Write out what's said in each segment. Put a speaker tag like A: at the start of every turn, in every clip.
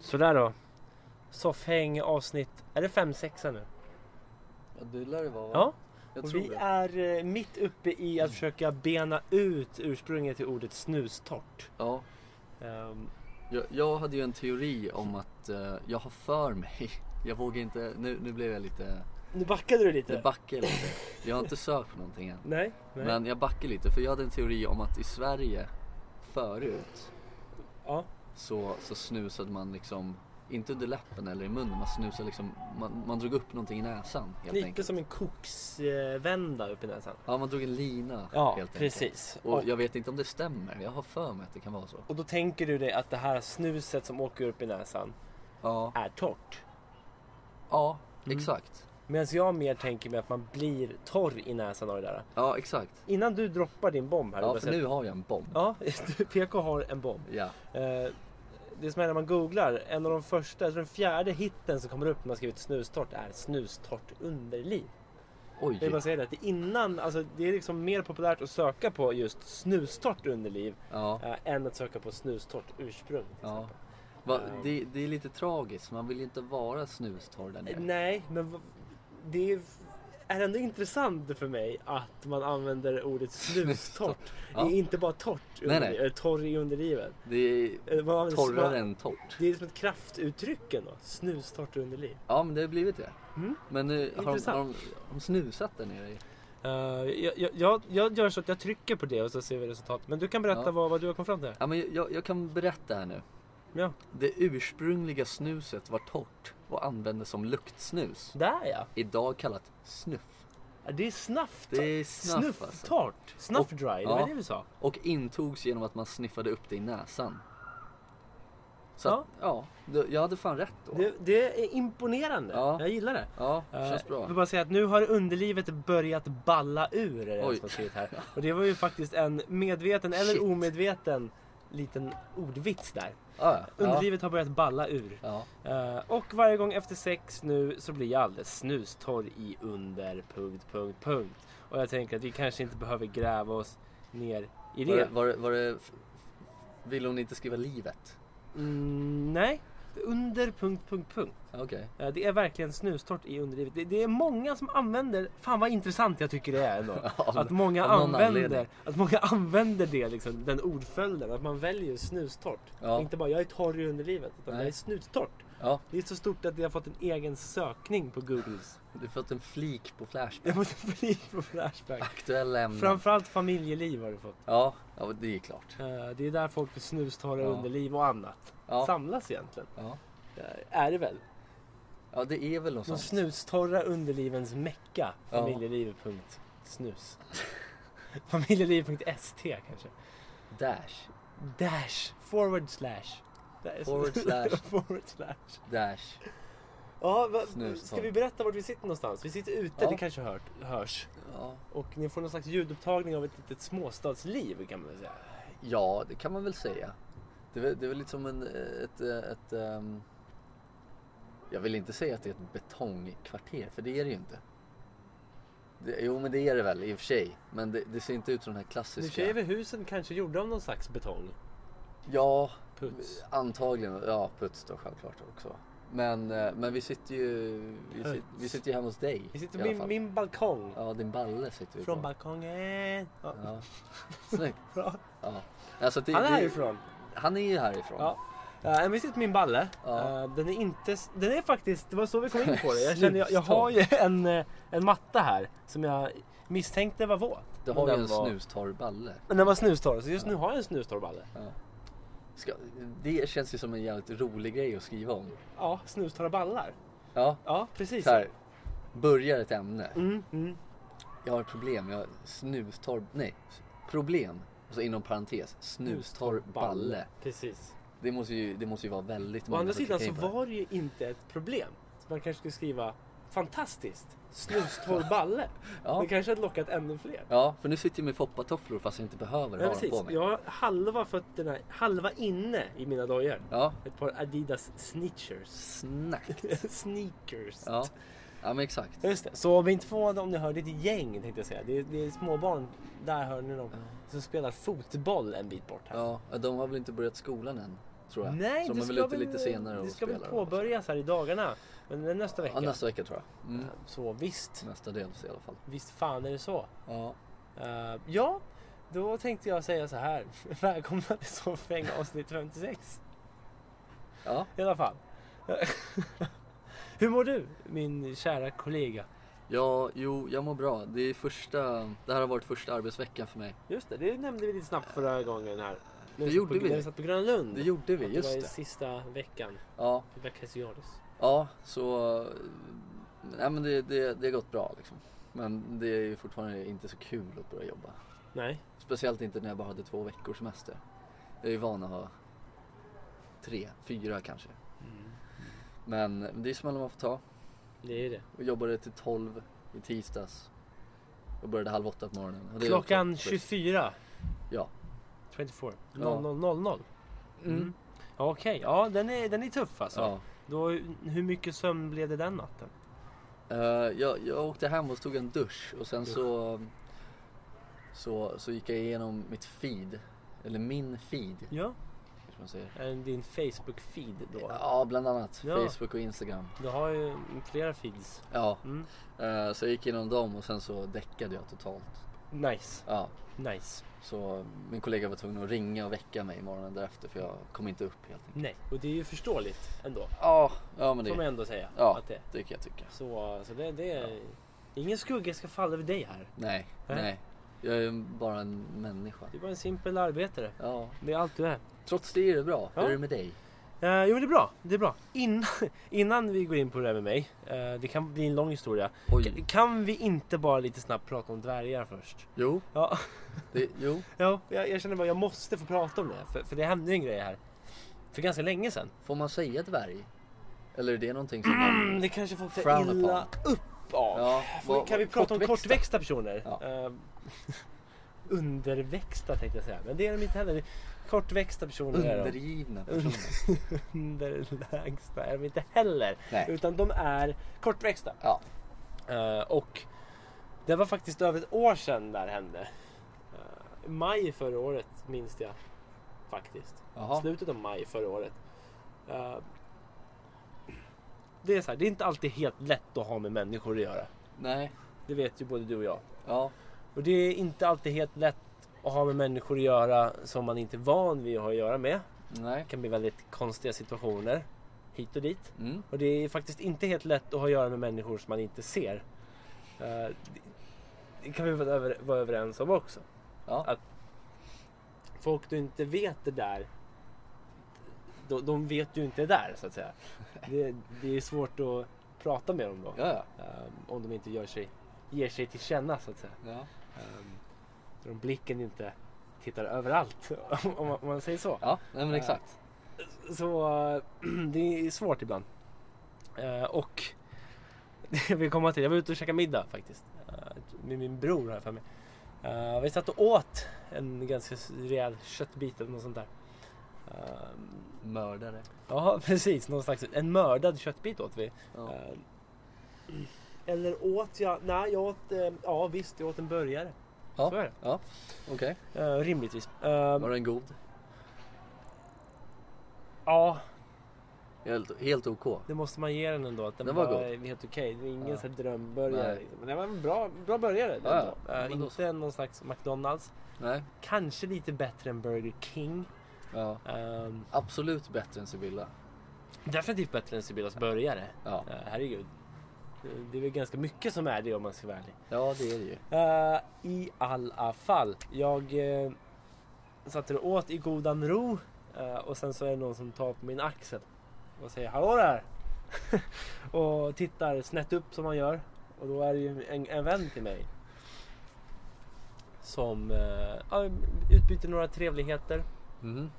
A: Sådär då. Soffhäng avsnitt... Är det 5-6 nu?
B: Ja, det lär det vara va?
A: Ja.
B: Jag
A: Och
B: tror
A: vi
B: det. Mm.
A: är eh, mitt uppe i att försöka bena ut ursprunget till ordet snustort.
B: Ja.
A: Ehm,
B: Jag, jag hade ju en teori om att eh, jag har för mig. Jag vågar inte. Nu, nu blev jag lite.
A: nu backade du lite.
B: Jag backar lite. Jag har inte sökt på någonting än.
A: nej, nej.
B: Men jag backar lite för jag hade en teori om att i Sverige förut
A: Ja.
B: så, så snusade man liksom inte under läppen eller i munnen. Man snusade liksom. Man, man drog upp någonting i näsan helt
A: Lite
B: enkelt.
A: som en koksvända upp i näsan.
B: Ja, man drog en lina
A: Ja,
B: helt enkelt.
A: precis.
B: Och
A: Och,
B: jag vet inte om det stämmer. Jag har för mig att det kan vara så.
A: och då tänker du dig att det här snuset som åker upp i näsan
B: Ja,
A: är torrt.
B: ja
A: Mm.
B: exakt.
A: Medan jag mer tänker mig att man blir torr i näsan av det där.
B: Ja, exakt.
A: Innan du droppar din bomb här.
B: Ja,
A: Ola,
B: för
A: så-
B: nu har jag en bomb.
A: ja PK har en bomb.
B: Ja.
A: Eh, det som är när man googlar, en av de första, jag tror den fjärde hitten som kommer upp när man skrivit snustort är snustort underliv.
B: Oj.
A: Jag vill bara säga det, att det är innan, alltså det är liksom mer populärt att söka på just snustort underliv
B: Ja.
A: eh, än att söka på snustort ursprung. till
B: ja.
A: exempel.
B: Va,
A: Eh.
B: det, det är lite tragiskt. Man vill ju inte vara snustorr där
A: Eh,
B: nere.
A: Nej, men v- det är, är ändå intressant för mig att man använder ordet snustort.
B: Ja.
A: Det är inte bara torrt,
B: Nej, nej.
A: underliv, eller torr i underlivet.
B: Det är
A: Eh, man använder-
B: torrare än torrt.
A: Det är liksom ett kraftuttryck ändå, snustort underliv.
B: Ja, men det har blivit det. Men nu, har, de,
A: Mm. Intressant.
B: har, de, har de snusat där nere?
A: Eh, jag, jag- jag, jag gör så att jag trycker på det och så ser vi resultatet. Men du kan berätta
B: Ja.
A: vad, vad du har kommit fram till.
B: Ja, men jag, jag kan berätta här nu.
A: Ja.
B: Det ursprungliga snuset var torrt och användes som luktsnus.
A: Där ja!
B: Idag kallat snuff.
A: Ja, Det är snabbt.
B: Det är snuff, alltså.
A: Snufftart. Snuff dry, det var
B: ja.
A: det vi sa.
B: Och intogs genom att man sniffade upp det i näsan. Så
A: Ja.
B: ja. Att, ja, det- jag hade fan rätt då.
A: Det, det är imponerande.
B: Ja.
A: Jag gillar det.
B: Ja,
A: Eh,
B: det känns bra.
A: Jag vill bara säga att nu har underlivet börjat balla ur. Är det
B: Oj.
A: som har skrivit här. Och det var ju faktiskt en medveten eller
B: Shit.
A: omedveten liten ordvits där.
B: Ja, ja.
A: Underlivet har börjat balla ur.
B: Ja.
A: Eh, och varje gång efter sex nu så blir jag alldeles snustorr i under... Punkt, punkt, punkt. Och jag tänker att vi kanske inte behöver gräva oss ner i
B: Var, det,
A: det.
B: var, det, var det... Vill hon inte skriva livet?
A: Mm, nej, under... Punkt, punkt, punkt.
B: Ja, Okej.
A: Eh, det är verkligen snustort i underlivet. Det, det är många som använder... Fan vad intressant jag tycker det är ändå.
B: Av-
A: Att många,
B: av någon
A: använder,
B: anledning.
A: att många använder det, liksom, den ordföljden. Att man väljer snustort.
B: Ja.
A: Inte bara jag är torr i underlivet, utan
B: Nej.
A: jag är snustort.
B: Ja,
A: Det är så stort att det har fått en egen sökning på Googles.
B: du har fått en flik på Flashback.
A: Jag måste bli på Flashback.
B: Aktuella ämnen.
A: Framförallt familjeliv har du fått.
B: Ja, ja, det är klart.
A: Eh, Det är där folk blir snustorra
B: Ja.
A: underliv och annat.
B: Ja.
A: Samlas egentligen.
B: Ja.
A: Eh, Är det väl?
B: ja, det är väl något
A: De
B: sånt.
A: snustorra underlivens mecka.
B: Ja.
A: Familjeliv.snus. Familjeliv.st kanske.
B: Dash.
A: Dash. Forward slash. Där är-
B: Forward slash.
A: Forward slash.
B: Dash.
A: Ja, va,
B: Snustorr.
A: ska vi berätta vart vi sitter någonstans? Vi sitter ute,
B: Ja.
A: det kanske hört, hörs.
B: Ja.
A: Och ni får någon slags ljudupptagning av ett litet småstadsliv kan man väl säga.
B: ja, det kan man väl säga. Det är, väl- det är väl lite som en, ett, ett, ett... ehm, Jag vill inte säga att det är ett betongkvarter, för det är det ju inte. Det, jo, men det är det väl i och för sig. Men det, det ser inte ut som den här
A: Nu
B: klassiska...
A: ser vi husen kanske gjorda av någon slags betong.
B: Ja,
A: Puts.
B: antagligen. Ja, puts då självklart också. Men, eh, men vi sitter ju vi, sit, vi sitter ju hemma hos dig.
A: Vi sitter
B: i
A: på
B: alla
A: min,
B: fall.
A: min balkong.
B: Ja, din balle sitter vi
A: Från
B: på.
A: balkongen. Ja.
B: Ja. Snyggt.
A: Bra.
B: Ja. Alltså, det,
A: Han är
B: det-
A: härifrån.
B: Han är ju härifrån.
A: Ja. Eh, men vi sitter på min balle.
B: Ja.
A: Eh, den är inte... s- Den är faktiskt... Det var så vi kom in på det. Jag, känner, jag, jag har ju en, eh, en matta här som jag misstänkte var våt.
B: Du
A: Men
B: har ju
A: den
B: en
A: var-
B: snustorr balle.
A: Men den var snustorr, så just nu har jag en snustorr balle.
B: Ja. Ska, det känns ju som en jävligt rolig grej att skriva om.
A: Ja, snustorra ballar.
B: Ja,
A: Ja, precis.
B: så här. Börjar ett ämne.
A: Mm, mm.
B: Jag har ett problem. Jag har snustorr... Nej, problem. Och så inom parentes, snustorr balle.
A: Precis.
B: Det måste ju, det måste ju vara väldigt
A: Å
B: många
A: andra
B: som
A: sidan så
B: klickar in på det.
A: var det ju inte ett problem. Så man kanske skulle skriva fantastiskt snustorr balle.
B: Ja.
A: Det kanske hade lockat ännu fler.
B: Ja, för nu sitter jag med foppatofflor fast jag inte behöver
A: Ja,
B: ha dem
A: precis.
B: på mig.
A: Jag har halva fötterna, halva inne i mina dojor.
B: Ja,
A: Ett par Adidas snitchers.
B: snack.
A: Sneakers.
B: Ja. ja, men exakt.
A: Just det. Så bli inte förvånade om ni hör det är ett gäng tänkte jag säga. Det är, det är småbarn, där hör ni dem, som spelar fotboll en bit bort här.
B: Ja, de har väl inte börjat skolan än? Tror jag.
A: Nej,
B: så de
A: det
B: är väl
A: ska
B: ute lite senare
A: Det
B: och
A: ska väl
B: spelar.
A: påbörjas här i dagarna. Men det är nästa vecka.
B: Ja, nästa vecka tror jag. Mm.
A: Så visst.
B: Nästa DLC i alla fall.
A: Visst fan är det så.
B: Ja.
A: Eh, ja, då tänkte jag säga så här. Välkomna till Soffhäng avsnitt 56.
B: ja.
A: I alla fall. Hur mår du min kära kollega?
B: Ja, jo, jag mår bra. Det, är första, det här har varit första arbetsveckan för mig.
A: Just det, det nämnde vi lite snabbt förra gången här. När
B: Det
A: satt
B: gjorde
A: på, När vi
B: vi.
A: satt på Gröna Lund.
B: Det gjorde vi,
A: Att
B: just
A: det. var i
B: det.
A: sista veckan.
B: Ja,
A: Veckas Jordis.
B: Ja, så... eh, Nej men det, det, det har gått bra liksom. Men det är ju fortfarande inte så kul att börja jobba.
A: Nej,
B: Speciellt inte när jag bara hade två veckors semester. Jag är ju van att ha tre, fyra kanske. Mm. Men det är smällar man får ta.
A: det är det.
B: Jag jobbade till tolv i tisdags. Och började halv åtta på morgonen. Och det är
A: Klockan
B: också-
A: 24.
B: Ja.
A: 24.
B: Ja.
A: 00.00. Mm.
B: Mm.
A: Ja, Okej, ja den är, den är tuff alltså.
B: ja.
A: Då, hur mycket sömn blev det den natten?
B: Eh, jag, jag åkte hem och tog en dusch och sen så, så, så gick jag igenom mitt feed. Eller min feed.
A: Ja,
B: kanske man säger.
A: eh, din Facebook-feed då.
B: Ja, bland annat.
A: Ja.
B: Facebook och Instagram.
A: Du har ju flera feeds.
B: Ja,
A: Mm.
B: eh, så jag gick igenom dem och sen så däckade jag totalt.
A: Nice,
B: Ja,
A: nice.
B: så min kollega var tvungen att ringa och väcka mig morgonen därefter för jag kom inte upp helt enkelt.
A: Nej, och det är ju förståeligt ändå.
B: Ja, ja men
A: Får man
B: det,
A: ändå säga.
B: Ja.
A: Att det.
B: det kan jag tycka.
A: Så, så det, det är... Ingen skugga ska falla över dig här.
B: Nej,
A: Nej.
B: nej. Jag är bara en människa.
A: Du är bara en simpel arbetare.
B: Ja,
A: Det är allt du är.
B: trots det är det bra.
A: Ja.
B: Hur är det med dig?
A: Eh, jo men det är bra, det är bra. Innan, innan vi går in på det här med mig, eh, det kan bli en lång historia.
B: Oj.
A: Kan vi inte bara lite snabbt prata om dvärgar först?
B: Jo,
A: Ja,
B: det, jo.
A: ja jag, jag känner bara jag måste få prata om det, för, för det hände ju en grej här. För ganska länge sedan.
B: Får man säga dvärg? Eller är det någonting som man...
A: Det kanske folk tar
B: Frown
A: illa upp av.
B: Ja, vad-
A: kan Mm. vi prata om
B: kortväxta?
A: kortväxta personer?
B: Ja.
A: Eh, underväxta tänkte jag säga, men det är de inte heller. Kortväxta personer är de.
B: Undergivna personer.
A: Underlägsna är de inte heller.
B: Nej.
A: Utan de är kortväxta.
B: Ja.
A: Eh, och det var faktiskt över ett år sedan det här hände. Eh, maj förra året minns jag faktiskt.
B: Jaha.
A: Slutet av maj förra året. Eh, det är så här, det är inte alltid helt lätt att ha med människor att göra.
B: Nej.
A: Det vet ju både du och jag.
B: Ja.
A: Och det är inte alltid helt lätt att ha med människor att göra som man inte är van vid att ha att göra med.
B: Nej.
A: Det kan bli väldigt konstiga situationer hit och dit.
B: Mm.
A: Och det är faktiskt inte helt lätt att ha att göra med människor som man inte ser. Eh, det- Det kan vi vara över- vara överens om också.
B: Ja.
A: Att folk du inte vet det där, de, de vet ju inte det där så att säga. Det, det är svårt att prata med dem då.
B: Ja, ja.
A: eh, Om de inte gör sig, ger sig till känna så att säga.
B: Ja,
A: Um, så de blicken inte tittar överallt, om, man, om man säger så.
B: ja nej men
A: Eh,
B: exakt.
A: Så eh, det är svårt ibland. Eh, och det vi komma till, jag var ute och käkade middag faktiskt. eh, med min bror här för mig. Eh, vi satt och åt en ganska rejäl köttbit eller något sånt där. Eh,
B: Mördare.
A: ja, precis. Någon slags, en mördad köttbit åt vi.
B: Ja.
A: Eh, eller åt jag? Nej, jag åt... eh, ja, visst, jag åt en burgare.
B: Ja.
A: Så är det.
B: Ja, okej.
A: Eh, rimligtvis. Eh,
B: Var den god?
A: Ja,
B: Helt, helt OK.
A: det måste man ge den ändå. Att den,
B: Den var
A: var helt okej. Det var ingen
B: Ja.
A: så här drömbörjare.
B: Nej.
A: Liksom. Men det var en bra, bra börjare.
B: Ja,
A: ändå.
B: ja.
A: Eh,
B: Ja, men då
A: inte någon slags McDonalds.
B: Nej.
A: Kanske lite bättre än Burger King.
B: Ja.
A: Ehm,
B: Absolut bättre än Sibylla.
A: definitivt bättre än Sibyllas burgare.
B: Ja.
A: Eh, herregud. Eh, Det är väl ganska mycket som är det om man ska vara ärlig.
B: ja, det är det ju.
A: Eh, I alla fall. Jag uh, satt och åt i godan ro eh, och sen så är det någon som tar på min axel och säger hallå där! och tittar snett upp som man gör. Och då är det ju en, en vän till mig. Som eh, ja, utbyter några trevligheter
B: Mhm.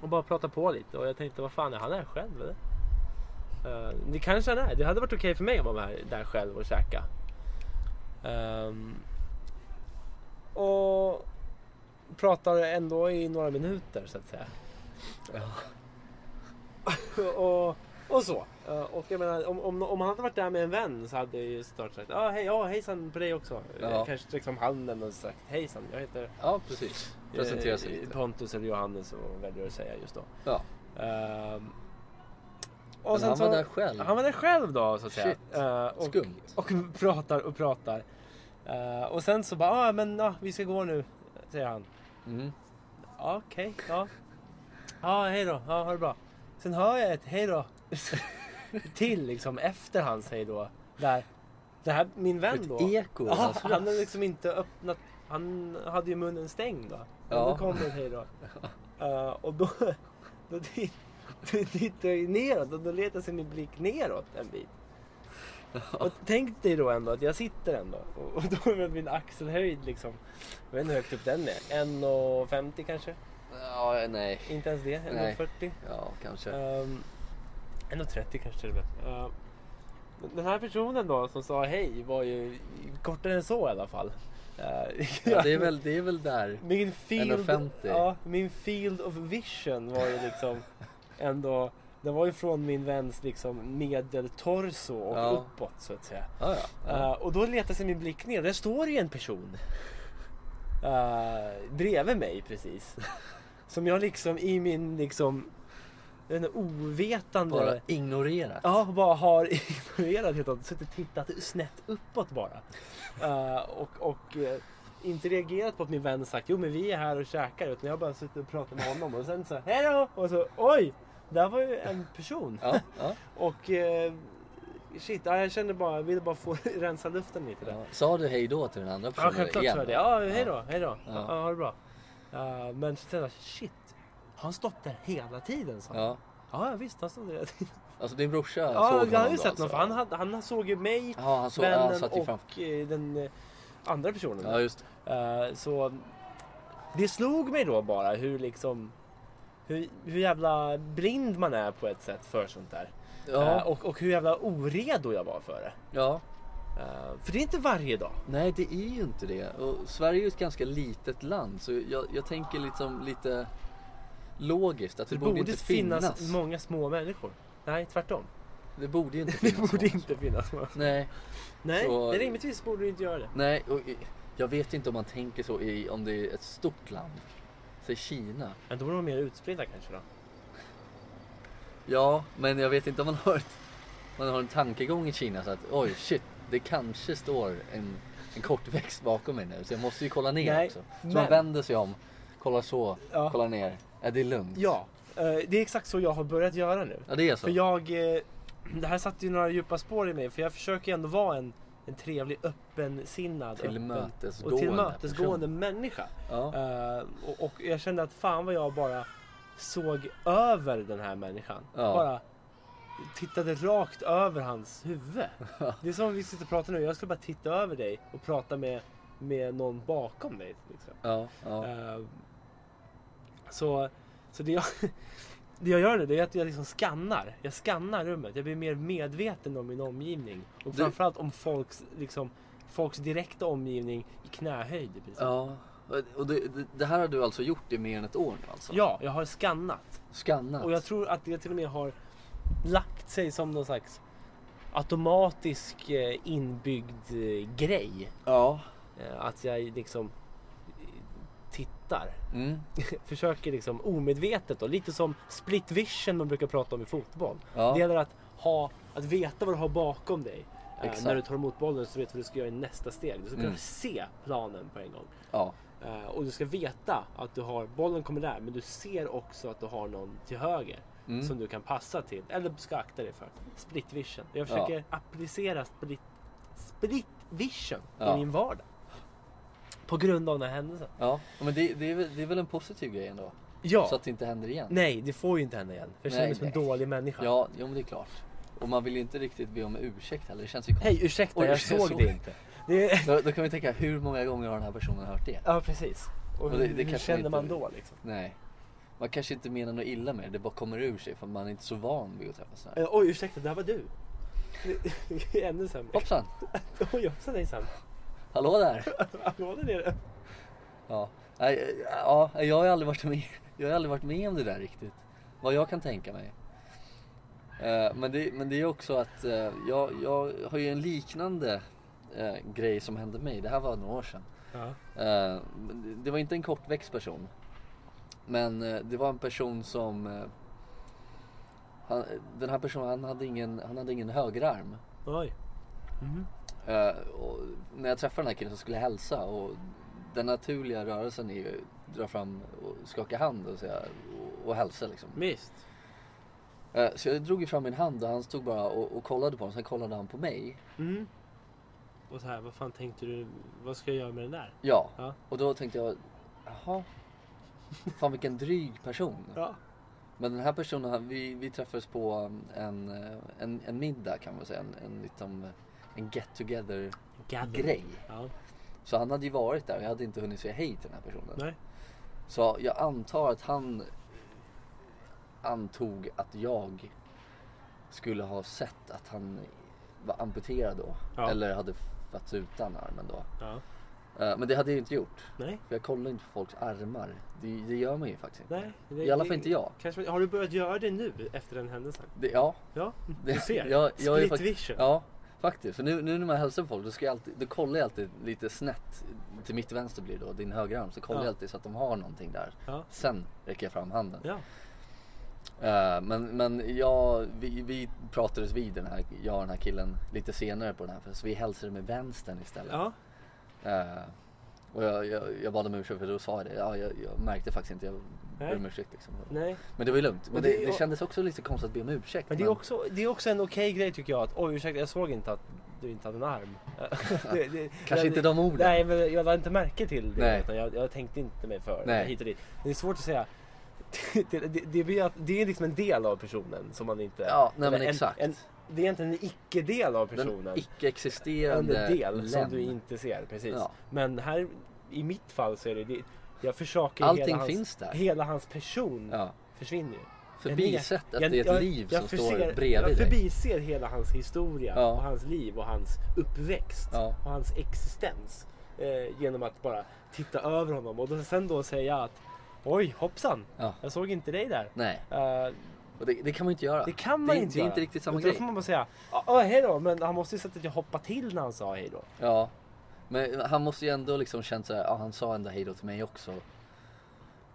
A: och bara pratar på lite. Och jag tänkte vad fan är han här själv eller? Eh, det kanske han är. Det hade varit okej för mig att vara här, där själv och käka. Ehm, och pratar ändå i några minuter så att säga. och, och och så. Eh, Och jag menar, om, om, om han hade varit där med en vän så hade jag ju såklart sagt ah, hej, ah, hejsan på dig också.
B: Ja.
A: Eh, Kanske sträckt fram handen och sagt hejsan, jag heter
B: Ja, precis. Presentera sig
A: eh,
B: lite.
A: Pontus eller Johannes och väljer att säga just då.
B: Ja.
A: Ehm, och
B: Men
A: sen
B: han
A: så-
B: var där själv.
A: Han var där själv då så att säga.
B: Shit.
A: Eh, och,
B: Skumt.
A: och pratar och pratar. Eh, och sen så bara, ah, men ah, vi ska gå nu, säger han.
B: Mm.
A: Ja, Okej, ja. Ja, hej då. Ja, ha det bra. Sen hör jag ett hej då till liksom efter hans hej då. Där, det här, min vän
B: Ett
A: då.
B: eko.
A: Ja,
B: alltså.
A: han hade liksom inte öppnat. Han hade ju munnen stängd då. Men
B: Ja.
A: då kom det ett hej då. Eh, och då, då, tit- då tittade jag ju neråt och då letade sig min blick neråt en bit. Och tänk dig då ändå att jag sitter ändå och, och då med min axelhöjd liksom. Jag vet inte hur högt upp den är. 1,50 kanske?
B: Ja, nej.
A: Inte ens det.
B: Nej.
A: 1,40.
B: Ja, kanske.
A: Um, 1,30 kanske till och med. Ehm, den här personen då som sa hej var ju kortare än så i alla fall. Ehm,
B: Ja, det, är väl, det är väl där.
A: min field,
B: 1,50.
A: ja, min field of vision var ju liksom ändå Den var ju från min väns liksom medeltorso och
B: Ja.
A: uppåt så att säga.
B: Ja, ja. ja.
A: Eh, och då letar sig min blick ner. Där står ju en person. Uh, bredvid mig precis. Som jag liksom i min liksom jag vet inte, ovetande...
B: Bara ignorerat.
A: Ja, bara har ignorerat helt och hållet. Suttit och tittat snett uppåt bara. Eh, och och eh, inte reagerat på att min vän sagt jo men vi är här och käkar. Utan jag har bara suttit och pratat med honom och sen så hej då! Och så oj! Där var ju en person.
B: Ja, ja,
A: Och eh, shit, ja, jag kände bara, jag ville bara få rensa luften lite där.
B: ja. Sa du hej då till den andra
A: Ja,
B: personen
A: självklart
B: igen
A: så är det.
B: då?
A: Ja, hej då, hej då.
B: Ja.
A: Ja, ja, ha det bra. Eh, men så tänkte jag, shit. Har han stått där hela tiden? sa han.
B: Ja.
A: Ja, ja, visst, han stod där hela tiden.
B: Alltså din brorsa såg
A: Ja,
B: honom
A: jag har ju
B: då,
A: sett honom
B: alltså?
A: för han, hade, han såg ju mig,
B: Ja, han, såg, ja, han
A: vännen
B: satt ju
A: och
B: framför.
A: eh, den eh, andra personen.
B: Ja, just det.
A: Eh, så det slog mig då bara hur liksom hur, hur jävla blind man är på ett sätt för sånt där.
B: Ja,
A: Eh, och, och hur jävla oredo jag var för det.
B: ja.
A: Eh, för det är inte varje dag.
B: Nej, det är ju inte det. Och Sverige är ju ett ganska litet land så jag, jag tänker liksom lite logiskt att det,
A: Det
B: borde,
A: borde,
B: inte
A: finnas.
B: finnas.
A: många små människor. Nej, tvärtom.
B: Det borde ju inte
A: Det
B: finnas.
A: borde
B: någon.
A: inte finnas många.
B: Nej,
A: Nej,
B: Så-
A: det rimligtvis borde du inte göra det.
B: nej. Och jag vet inte om man tänker så i, om det är ett stort land. Säg Kina.
A: Men då borde de vara mer utspridda kanske då.
B: Ja, men jag vet inte om man har, ett, man har en tankegång i Kina så att oj shit, det kanske står en, en kortväxt bakom mig nu så jag måste ju kolla ner
A: Nej,
B: också. Så man
A: men-
B: vänder sig om, kollar så,
A: Ja.
B: kollar ner. Ja, det är lugnt.
A: Ja, eh, det är exakt så jag har börjat göra nu.
B: Ja, det är så.
A: För jag, eh, det här satte ju några djupa spår i mig för jag försöker ju ändå vara en, en trevlig, öppensinnad öppen,
B: Tillmötesgående
A: och tillmötesgående människa.
B: Ja.
A: Eh, och, och jag kände att fan vad jag bara såg över den här människan.
B: Ja.
A: Bara tittade rakt över hans huvud. Det är som vi sitter och pratar nu. Jag skulle bara titta över dig och prata med, med någon bakom dig. Liksom.
B: Ja, ja.
A: Eh, så, så det jag, det jag gör nu det är att jag liksom skannar. Jag skannar rummet. Jag blir mer medveten om min omgivning. Och
B: Du-
A: framförallt om folks, liksom, folks direkta omgivning i knähöjd. i princip.
B: ja. Och det, det- det här har du alltså gjort i mer än ett år nu alltså?
A: Ja, jag har skannat.
B: Skannat?
A: Och jag tror att det till och med har lagt sig som någon slags automatisk eh, inbyggd eh, grej.
B: Ja.
A: Eh, Att jag liksom eh, tittar.
B: Mm.
A: Försöker liksom omedvetet då. Lite som split vision man brukar prata om i fotboll.
B: Ja.
A: Det gäller att, ha, att veta vad du har bakom dig. eh,
B: Exakt.
A: När du tar emot bollen så vet du vad du ska göra i nästa steg. Du ska
B: Mm.
A: kunna se planen på en gång.
B: ja.
A: Eh, Och du ska veta att du har, bollen kommer där, men du ser också att du har någon till höger.
B: Mm.
A: Som du kan passa till, eller ska akta dig för. Split vision. Jag försöker applicera split, split vision
B: Ja.
A: i min vardag. På grund av den här händelsen.
B: Ja, men det, det, är väl, det är väl en positiv grej ändå?
A: Ja.
B: Så att det inte händer igen?
A: Nej, det får ju inte hända igen. För jag känner
B: Nej,
A: mig som en
B: nej.
A: dålig människa.
B: Ja, jo, men det är klart. Och man vill ju inte riktigt be om ursäkt heller. Det känns ju konstigt.
A: Hej, ursäkta,
B: Oj,
A: jag,
B: jag
A: såg
B: såg
A: det inte. Det är...
B: Då, då kan vi tänka, hur många gånger har den här personen hört det?
A: Ja, precis. Och
B: Och det- det
A: hur,
B: kanske
A: hur känner
B: inte-
A: man då liksom?
B: Nej. Man kanske inte menar något illa med det, det bara kommer ur sig för man är inte så van vid att träffa sådana här.
A: Eh, Oj, ursäkta, där var du. Det är Ännu sämre.
B: Hoppsan!
A: Oj, hoppsan hejsan.
B: Hallå där!
A: Hallå där nere.
B: Ja, Nej, ja jag, har ju aldrig varit med, jag har aldrig varit med om det där riktigt. Vad jag kan tänka mig. Eh, Men det, men det är också att eh, jag, jag har ju en liknande eh, grej som hände mig. Det här var några år sedan.
A: Ja.
B: Eh, men det- Det var inte en kortväxt person. Men eh, det var en person som... eh, Han, den här personen han hade ingen, han hade ingen högerarm.
A: Oj. Mhm.
B: Eh, och när jag träffade den här killen så skulle jag hälsa och den naturliga rörelsen är ju att dra fram och skaka hand och, säga, och, och hälsa liksom.
A: Visst.
B: Eh, Så jag drog ju fram min hand och han stod bara och, och kollade på den. Sen kollade han på mig.
A: Mm. Och så här, vad fan tänkte du? Vad ska jag göra med den där?
B: Ja.
A: Ja.
B: Och då tänkte jag, jaha. Fan vilken dryg person.
A: Ja.
B: Men den här personen, han- vi, vi träffades på en, eh, en, en middag kan man säga. En, en, liksom, en get together
A: Gather.
B: grej.
A: Ja.
B: Så han hade ju varit där och jag hade inte hunnit säga hej till den här personen.
A: Nej.
B: Så jag antar att han antog att jag skulle ha sett att han var amputerad då.
A: Ja.
B: Eller hade fötts utan armen då.
A: Ja.
B: Eh, Men det hade jag ju inte gjort.
A: Nej.
B: För jag kollar inte på folks armar. Det, det gör man ju faktiskt inte.
A: Nej. det-
B: I alla
A: det-
B: fall inte jag.
A: Kanske, har du börjat göra det nu efter den händelsen?
B: Det, ja,
A: Ja.
B: det,
A: Du ser.
B: jag- jag är
A: Split
B: faktiskt-
A: vision.
B: ja, faktiskt. För nu, nu när man hälsar på folk då, ska jag alltid, då kollar jag alltid lite snett. Till mitt vänster blir det då, din högra arm. Så kollar
A: Ja.
B: jag alltid så att de har någonting där.
A: Ja.
B: Sen räcker jag fram handen.
A: Ja.
B: Eh, men men jag, vi, vi pratades vid den här, jag och den här killen lite senare på den här så vi hälsade med vänstern istället.
A: Ja.
B: Eh, och jag, jag, jag bad om ursäkt för då sa jag det. Ja, jag, jag märkte faktiskt inte, jag
A: Nej.
B: ber om ursäkt liksom.
A: Nej.
B: Men det var ju lugnt. Men
A: Men det-
B: det, det kändes också lite konstigt att be om ursäkt.
A: Men det är också, det är också en okej grej tycker jag. Att, oj ursäkta jag såg inte att du inte hade en arm. det, det,
B: Kanske inte de orden.
A: Nej men jag lade inte märke till det.
B: Nej.
A: Utan jag, jag tänkte inte mig för.
B: Nej.
A: Hit och dit. Det är svårt att säga. Det, det, det, blir att, det är liksom en del av personen som man inte...
B: Ja, nej men
A: eller en-
B: exakt.
A: En, det är egentligen en icke-del av
B: den
A: personen. En
B: icke-existerande
A: del som
B: lem.
A: du inte ser. Precis.
B: Ja.
A: Men här i mitt fall så är det... det jag försöker
B: Allting
A: hela hans,
B: finns där.
A: Hela hans person
B: Ja.
A: försvinner ju.
B: Förbisett att
A: Jag-
B: det är ett
A: jag-
B: liv
A: jag
B: som
A: förser-
B: står bredvid
A: Jag
B: dig.
A: förbiser hela hans historia
B: Ja.
A: och hans liv och hans uppväxt
B: Ja.
A: och hans existens. Eh, genom att bara titta över honom och då, sen då säga att Oj hoppsan,
B: Ja.
A: jag såg inte dig där.
B: Nej,
A: Eh,
B: och det, det kan man ju inte göra.
A: det kan man
B: det, är-
A: inte
B: Det är
A: göra.
B: inte riktigt samma
A: Utan då
B: grej.
A: får man bara säga "Ja, ja, hej då, men han måste ju sett att jag hoppade till när han sa hej då.
B: Ja. Men han måste ju ändå liksom känt såhär, ja han sa ändå hejdå till mig också.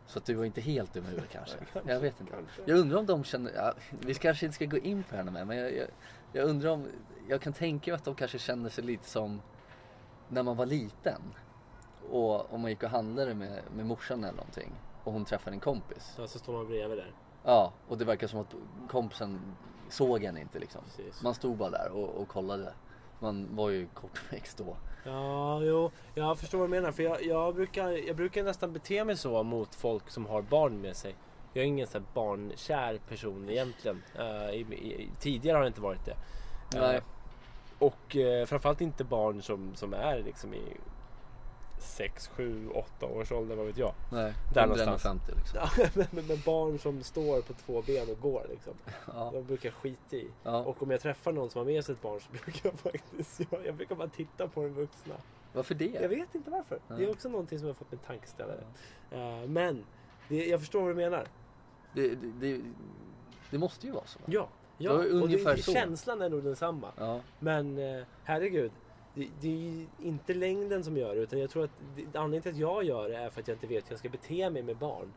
B: Så att du var inte helt dum i huvudet kanske. Jag vet inte. Jag undrar om de känner, ja, vi kanske inte ska gå in på det här mer, men jag, jag, jag undrar om, jag kan tänka mig att de kanske känner sig lite som när man var liten. Och om man gick och handlade med, med morsan eller någonting. Och hon träffade en kompis.
A: Så, så står man bredvid där.
B: Ja, och det verkar som att kompisen såg en inte liksom.
A: Precis.
B: Man stod bara där och, och kollade. Man var ju kortväxt då.
A: Ja, jo, jag förstår vad du menar. För jag, jag, brukar, jag brukar nästan bete mig så mot folk som har barn med sig. Jag är ingen så här barnkär person egentligen. Eh, i, i, tidigare har jag inte varit det. Eh,
B: Nej.
A: och eh, framförallt inte barn som, som är liksom i 6, 7, 8 års ålder, vad vet jag.
B: Nej,
A: Där
B: 150 liksom.
A: Ja, men, men, men barn som står på två ben och går liksom.
B: Ja.
A: De brukar skita i.
B: Ja.
A: Och om jag träffar någon som har med sig ett barn så brukar jag faktiskt, jag, jag brukar bara titta på den vuxna.
B: Varför
A: Jag
B: det?
A: vet inte varför. Det
B: Nej.
A: är också någonting som har fått min tankeställare. Eh, Men det, jag förstår vad du menar.
B: Det, det, det, det måste ju vara så. va?
A: Ja, ja.
B: Det var
A: och
B: ungefär
A: det, det,
B: så.
A: känslan är nog densamma.
B: Ja.
A: Men eh, herregud, det, det är ju inte längden som gör det. Utan jag tror att det, anledningen till att jag gör det är för att jag inte vet hur jag ska bete mig med barn.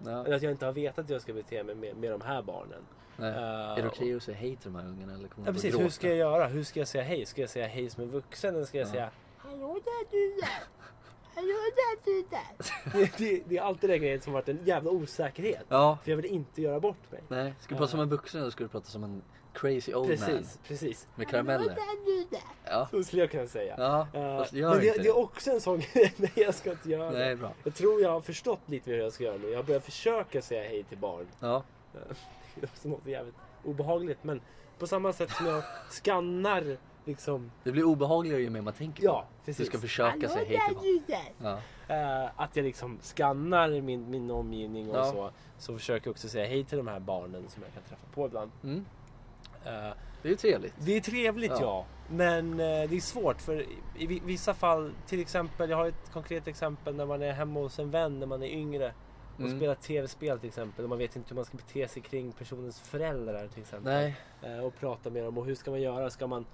A: Eller
B: Ja.
A: att jag inte har vetat hur jag ska bete mig med, med de här barnen.
B: Nej.
A: Eh,
B: Är det okej
A: och-
B: att säga hej till de här ungarna eller kommer
A: Ja
B: de
A: precis,
B: att
A: hur
B: gråta?
A: ska jag göra? Hur ska jag säga hej? Ska jag säga hej som en vuxen eller ska jag
B: Ja.
A: säga
C: Hallå där du där! Hallå där du där!
A: det, det, det är alltid den grejen som varit en jävla osäkerhet.
B: Ja.
A: För jag vill inte göra bort mig.
B: Nej, ska du
A: Ja.
B: prata som en vuxen eller ska du prata som en crazy old man?
A: Precis, precis.
B: Med
C: Hallå
B: karameller?
C: där du där!
B: Ja.
A: Så skulle jag kunna säga.
B: Ja,
A: Eh,
B: fast
A: men
B: gör
A: det,
B: inte
A: det är också en sån grej. Nej, jag ska inte göra
B: Nej,
A: det.
B: bra.
A: Jag tror jag har förstått lite mer hur jag ska göra nu. Jag börjar försöka säga hej till barn.
B: Ja.
A: Det är också något jävligt obehagligt. Men på samma sätt som jag skannar liksom.
B: Det blir obehagligare ju mer man tänker på
A: Ja,
B: det. Du
A: precis.
B: ska försöka säga hej till
C: där
B: barn.
C: du där!
B: Ja.
A: Eh, att jag liksom skannar min, min omgivning och
B: Ja.
A: så. Så försöker jag också säga hej till de här barnen som jag kan träffa på ibland.
B: Mm.
A: Eh,
B: Det är ju trevligt.
A: Det är trevligt
B: Ja.
A: ja. Men eh, det är svårt för i vi- vissa fall, till exempel, jag har ett konkret exempel när man är hemma hos en vän när man är yngre. Och
B: Mm.
A: spela tv-spel till exempel. Och man vet inte hur man ska bete sig kring personens föräldrar till exempel.
B: Nej,
A: Eh, och prata med dem. Och hur ska man göra? Ska man,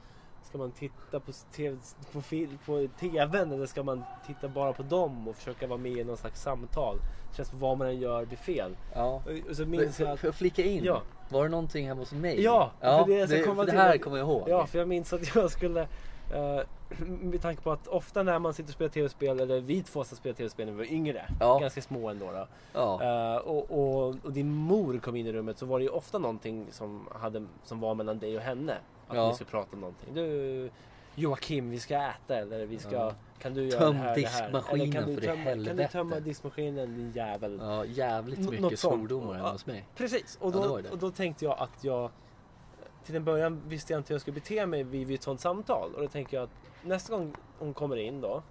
A: ska man titta på, TV, på, fil, på tvn eller ska man titta bara på dem och försöka vara med i någon slags samtal? Det känns som vad man än gör blir fel.
B: ja.
A: Och, och så
B: Men,
A: minns jag
B: får,
A: att...
B: får jag flika in?
A: Ja.
B: Var det någonting hemma hos mig?
A: Ja,
B: ja
A: för det
B: det,
A: jag ska komma
B: för det
A: till
B: här
A: att-
B: kommer jag ihåg.
A: Ja, för jag minns att jag skulle... eh, med tanke på att ofta när man sitter och spelar tv-spel, eller vi två som spelar tv-spel när vi var yngre,
B: Ja.
A: ganska små ändå. Då,
B: ja.
A: Eh, och, och, och din mor kom in i rummet så var det ju ofta någonting som, hade, som var mellan dig och henne. Att
B: Ja.
A: ni skulle prata om någonting. Du Joakim, vi ska äta eller vi ska...
B: Ja.
A: Kan du göra
B: Töm
A: det här, det här?
B: diskmaskinen,
A: Eller kan du
B: för i
A: tömma- Kan du
B: helvete.
A: tömma diskmaskinen din jävel?
B: ja, jävligt
A: Nå- något
B: mycket
A: sånt.
B: svordomar hemma
A: Ja.
B: hos mig.
A: Precis, och
B: Ja, det
A: då,
B: var ju det.
A: och då tänkte jag att jag... Till en början visste jag inte hur jag skulle bete mig vid, vid ett sånt samtal. Och då tänker jag att nästa gång hon kommer in då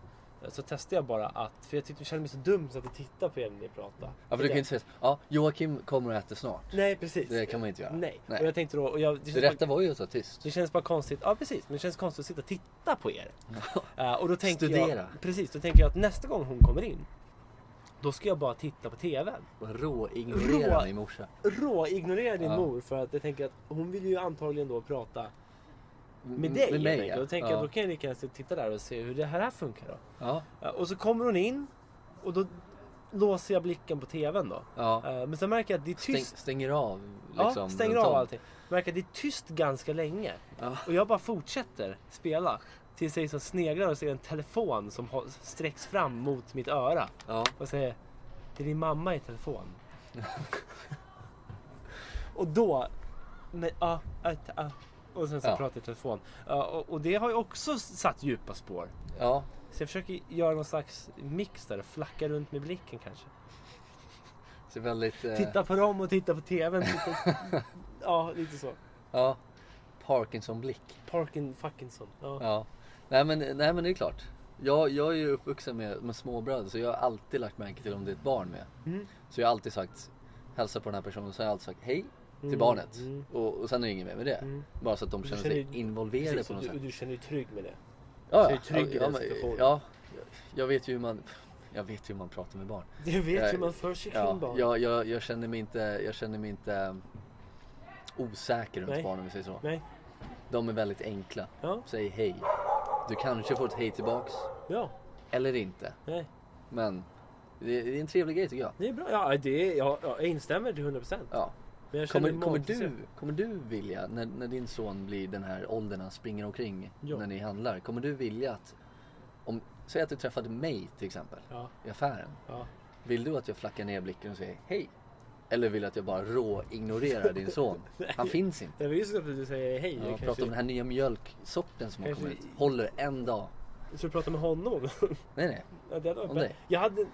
A: eh, så testar jag bara att, för jag tyckte jag kände mig så dum så att jag tittade på er när ni pratade.
B: Ja, för du kan ju inte säga så- ja, Joakim kommer och äter snart.
A: Nej precis.
B: Det kan man inte göra.
A: Nej.
B: Nej.
A: och jag tänkte då... Och jag,
B: Det
A: känns
B: rätta
A: bara,
B: var ju att vara tyst.
A: det känns bara konstigt. Ja precis, men det känns konstigt att sitta och titta på er. Eh, och då tänker
B: Studera.
A: Jag, precis, då tänker jag att nästa gång hon kommer in då ska jag bara titta på TVn.
B: Råignorera
A: Rå-
B: min morsa.
A: Råignorera din
B: Ja.
A: mor för att jag tänker att hon vill ju antagligen då prata med
B: Mm,
A: dig.
B: Med
A: helt
B: mig
A: enkelt.
B: ja.
A: Då tänker
B: ja.
A: jag då kan jag lika gärna sitta och titta där och se hur det här, här funkar då.
B: ja.
A: Eh, och så kommer hon in och då låser jag blicken på TVn då.
B: ja.
A: Eh, men sen märker jag att det är
B: Stäng,
A: tyst.
B: stänger av liksom.
A: ja, stänger
B: runt
A: av
B: om.
A: allting. Märker att det är tyst ganska länge.
B: Ja.
A: Och jag bara fortsätter spela. Tills jag liksom sneglar och ser en telefon som hå- sträcks fram mot mitt öra.
B: Ja.
A: Och säger Det är din mamma i telefon. och då... Nej, ja, ja, ja. Och sen så
B: Ja.
A: pratar jag i telefon. Ja, och, och det har ju också satt djupa spår.
B: ja.
A: Så jag försöker göra någon slags mix där och flacka runt med blicken kanske.
B: Så väldigt... Eh,
A: Titta på dem och titta på TVn. Titta... ja, lite så.
B: Ja. Parkinson-blick.
A: Parkin Fuckinson. Ja.
B: Ja. Nej men, nej men det är klart. Jag, jag är ju uppvuxen med, med småbröder så jag har alltid lagt märke till om det är ett barn med.
A: Mm.
B: Så jag har alltid sagt, hälsa på den här personen, så har jag alltid sagt hej till
A: Mm,
B: barnet.
A: mm.
B: Och, och sen är det inget mer med det.
A: Mm.
B: Bara så att de
A: Du
B: känner
A: känner
B: sig
A: ju-
B: involverade
A: Precis,
B: på
A: och
B: något
A: du,
B: sätt.
A: och du känner dig trygg med det.
B: Ja,
A: Så
B: ja,
A: är trygg i
B: ja,
A: den
B: men-
A: situationen.
B: ja, jag vet ju hur man... Jag vet ju hur man pratar med barn.
A: Du vet hur
B: Jag-
A: man för sig kring
B: Ja,
A: barn.
B: jag, jag, jag känner mig inte, jag känner mig inte um, osäker runt
A: Nej.
B: barn om vi säger så.
A: Nej.
B: De är väldigt enkla.
A: Ja.
B: Säg hej. Du kanske får ett hej tillbaks.
A: Ja.
B: Eller inte.
A: Nej.
B: Men det, det är en trevlig grej tycker jag.
A: Det är bra. Ja, det är, ja, ja, jag instämmer till 100 procent.
B: Ja.
A: Men jag känner
B: Kommer,
A: mig
B: kommer,
A: magkissig.
B: du, kommer du vilja, när, när din son blir den här åldern han springer omkring
A: Ja.
B: när ni handlar. Kommer du vilja att, om, säg att du träffade mig till exempel
A: Ja,
B: i affären.
A: ja.
B: Vill du att jag flackar ner blicken och säger hej? Eller vill du att jag bara rå-ignorerar din son? Han finns inte.
A: Jag visste att du säger hej.
B: Ja,
A: jag
B: prata
A: kanske,
B: om den här nya mjölksorten som har
A: kanske-
B: kommit. Håller en dag.
A: Så du pratar med honom?
B: Nej, nej.
A: ja, det hade varit
B: Om
A: bra.
B: dig.
A: Jag hade,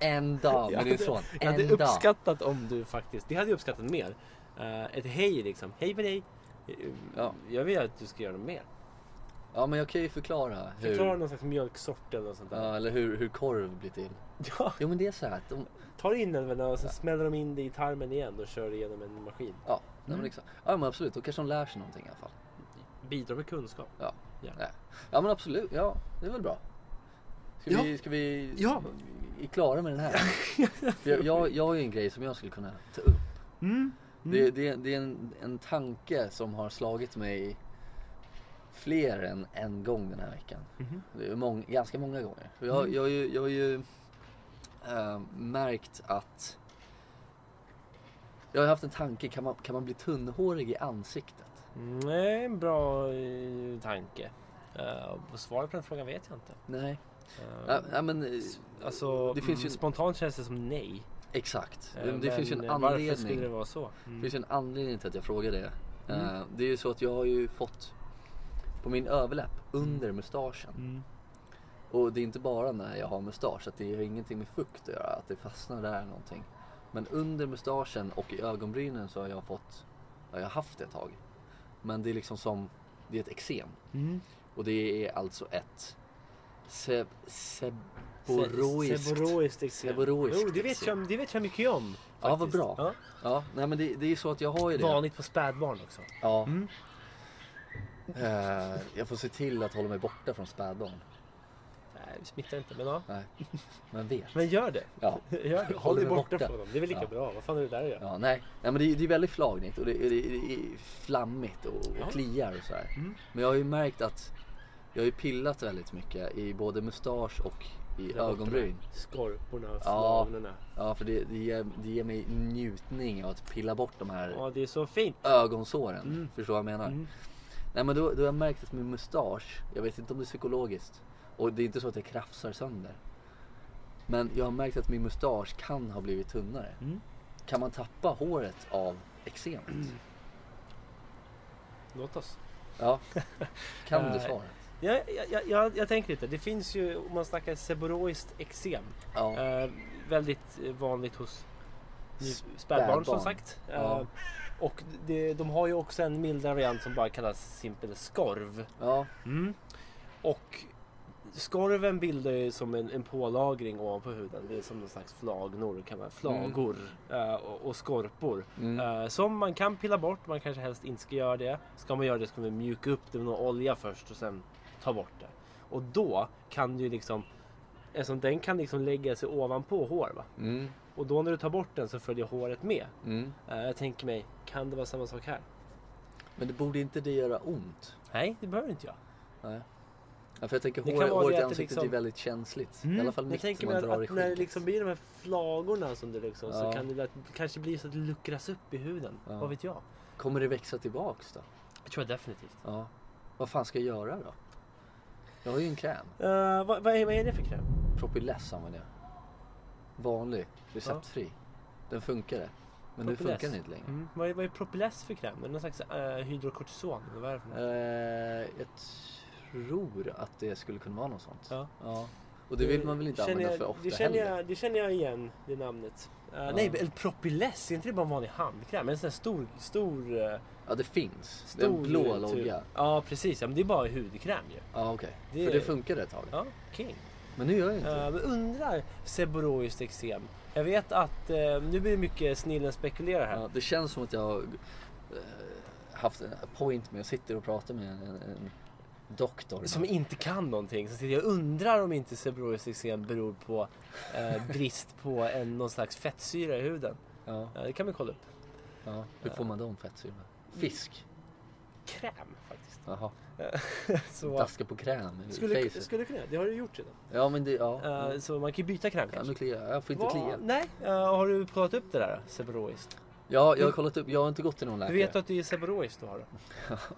B: En dag
A: jag
B: med din
A: hade,
B: son.
A: jag hade
B: En dag.
A: uppskattat om du faktiskt, det hade jag uppskattat mer. Eh, ett hej liksom. Hej på dig. Eh,
B: Ja.
A: Jag vill att du ska göra något mer.
B: Ja, men jag kan ju förklara hur,
A: Förklara någon slags mjölksort eller något sånt där.
B: ja, eller hur, hur korv blir till.
A: Ja.
B: Jo, men det är så här att de,
A: Tar in den väl och sen smäller de in det i tarmen igen och kör igenom en maskin.
B: ja, nej,
A: Mm.
B: men liksom, ja, men absolut. Då kanske de lär sig någonting i alla fall.
A: Bidrar med kunskap.
B: Ja,
A: Ja.
B: Nej. ja men absolut. Ja, det är väl bra. Ska
A: Ja.
B: vi, ska vi
A: Ja.
B: är klara med den här? För jag, jag, jag har ju en grej som jag skulle kunna ta upp. Mm.
A: Mm.
B: Det, det, det är en, en tanke som har slagit mig fler än en gång den här veckan.
A: Mhm.
B: Det är mång, ganska många gånger. Och
A: Mm.
B: Jag, jag, har ju- jag har ju eh, märkt att jag har haft en tanke, kan man, kan man bli tunnhårig i ansiktet?
A: Nej, Mm, en bra eh, tanke. Uh, och svaret på den frågan vet jag inte.
B: Nej.
A: Eh,
B: Ja, ja, men, eh,
A: alltså,
B: det finns ju-
A: spontant känns det som nej.
B: exakt.
A: Eh,
B: det
A: men
B: finns ju en
A: varför
B: anledning. Mm.
A: skulle det vara så?
B: Det finns ju en anledning till att jag frågar det.
A: Mm.
B: Eh, Det är ju så att jag har ju fått på min överläpp under mustaschen.
A: Mm.
B: Och det är inte bara när jag har mustasch, att det har ingenting med fukt att göra, att det fastnar där någonting. Men under mustaschen och i ögonbrynen så har jag fått, ja, jag har haft det ett tag. Men det är liksom som, det är ett eksem.
A: Mm.
B: Och det är alltså ett seb,
A: Se-
B: seboroiskt...
A: Seboroiskt eksem.
B: Seboroiskt
A: Jo, det vet, jag, det vet jag mycket om.
B: Ja, vad
A: faktiskt.
B: bra.
A: Ja.
B: Ja, nej men det, det är så att jag har ju det.
A: Vanligt på spädbarn också.
B: Ja.
A: Mm.
B: Eh, jag får se till att hålla mig borta från spädbarn.
A: Nej, Nej, vi smittar inte. Men ja.
B: Nej, man vet.
A: Men gör det.
B: Ja.
A: Gör det.
B: Håll
A: Håll dig
B: dig
A: borta
B: borta.
A: från dem. Det är väl lika
B: Ja.
A: bra. Vad fan är det där att göra?
B: Ja, nej. nej men det, är- det är väldigt flagnigt och det, är- det, är- det är flammigt och, och
A: Ja.
B: kliar och så här.
A: Mm.
B: Men jag har ju märkt att jag har ju pillat väldigt mycket i både mustasch och i
A: Där borta
B: ögonbryn.
A: med Skorporna,
B: Ja.
A: flavnorna.
B: Ja, för det, det, ger, det ger mig njutning av att pilla bort de här
A: Ja, det är så fint.
B: ögonsåren.
A: Mm.
B: Förstår vad jag menar?
A: Mm.
B: Nej men då, då har jag märkt att min mustasch, jag vet inte om det är psykologiskt. Och det är inte så att jag krafsar sönder. Men jag har märkt att min mustasch kan ha blivit tunnare.
A: Mm.
B: Kan man tappa håret av eksemet?
A: Låt oss.
B: Ja. Kan du
A: Nej.
B: svaret?
A: Jag, jag, jag- jag, jag tänker lite. Det finns ju, om man snackar seboroiskt eksem.
B: Ja.
A: Eh, väldigt eh, vanligt hos ny-
B: Spädbarn.
A: spädbarn som sagt. Eh,
B: Ja.
A: och det, de har ju också en mildare variant som bara kallas simpel skorv.
B: Ja.
A: Mm. Och skorven bildar ju som en, en pålagring ovanpå huden. Det är som någon slags flagnor, kan man, flagor eh, och, och skorpor.
B: Mm.
A: Eh, som man kan pilla bort, man kanske helst inte ska göra det. Ska man göra det ska man mjuka upp det med någon olja först och sen ta bort det. Och då kan du ju liksom, eftersom den kan liksom lägga sig ovanpå hår va.
B: Mm.
A: Och då när du tar bort den så följer håret med.
B: Mm.
A: Eh, jag tänker mig, kan det vara samma sak här?
B: Men det borde inte det göra ont?
A: Nej, det behöver inte jag.
B: Nej. Ja, för jag tänker
A: Det kan
B: håret,
A: vara
B: håret i
A: det att det
B: ansiktet
A: liksom-
B: är väldigt känsligt. I
A: Mm.
B: alla fall
A: jag
B: mitt
A: tänker
B: som
A: mig
B: man
A: att,
B: drar i
A: att när det
B: skinnet.
A: liksom blir de här flagorna som du liksom, så
B: Ja.
A: kan det där, kanske bli så att det luckras upp i huden.
B: Ja.
A: Vad vet jag?
B: Kommer det växa tillbaks då?
A: Jag tror jag definitivt.
B: Ja. Vad fan ska jag göra då? Jag har ju en kräm.
A: Eh, vad, vad, är, vad är det för kräm? Mm.
B: Propyless använder jag. Vanlig, receptfri. Den funkade. Men nu
A: Propyless.
B: funkar den inte längre.
A: Mm. Vad, är, vad är Propyless för kräm? Är det någon slags eh, hydrokortison? Eller vad är det för något?
B: Eh, jag tror att det skulle kunna vara något sånt.
A: Ja.
B: Och det vill man väl inte
A: Känner
B: använda
A: jag-
B: för ofta
A: det känner,
B: heller?
A: jag, det känner jag igen, det namnet. Eh, Nej, eller Propyless, är inte det bara en vanlig handkräm? En sån här stor, stor, eh,
B: Ja, det finns.
A: stor
B: Det är en blå
A: typ.
B: logga.
A: Ja, precis. Ja, men det är bara hudkräm ju.
B: Ja, okej.
A: Det
B: För det
A: är-
B: funkade ett tag.
A: Ja, king.
B: Men nu gör jag inte det.
A: Eh, men undrar seboroiskt eksem. Jag vet att, eh, nu blir det mycket snillen spekulerar här.
B: Ja, det känns som att jag har eh, haft en point med, jag sitter och pratar med en, en, en doktor.
A: Som inte kan någonting. Så sitter jag och undrar om inte seboroiskt eksem beror på eh, brist på en, någon slags fettsyra i huden.
B: ja,
A: Ja, det kan vi kolla upp.
B: ja. Hur får man de fettsyrorna? Fisk?
A: Kräm faktiskt.
B: Jaha.
A: Så,
B: Daska på kräm i
A: skulle,
B: skulle,
A: skulle kunna, det har du gjort redan.
B: Ja men det, ja.
A: Eh, så man kan ju byta kräm
B: ja
A: kanske.
B: nu kliar jag. Jag får inte
A: Vad-
B: klia.
A: Nej, eh, har du kollat upp det där seboroiskt?
B: Ja, jag har kollat upp. Jag har inte gått till någon
A: Du
B: läkare.
A: vet att det är seboroiskt du har det?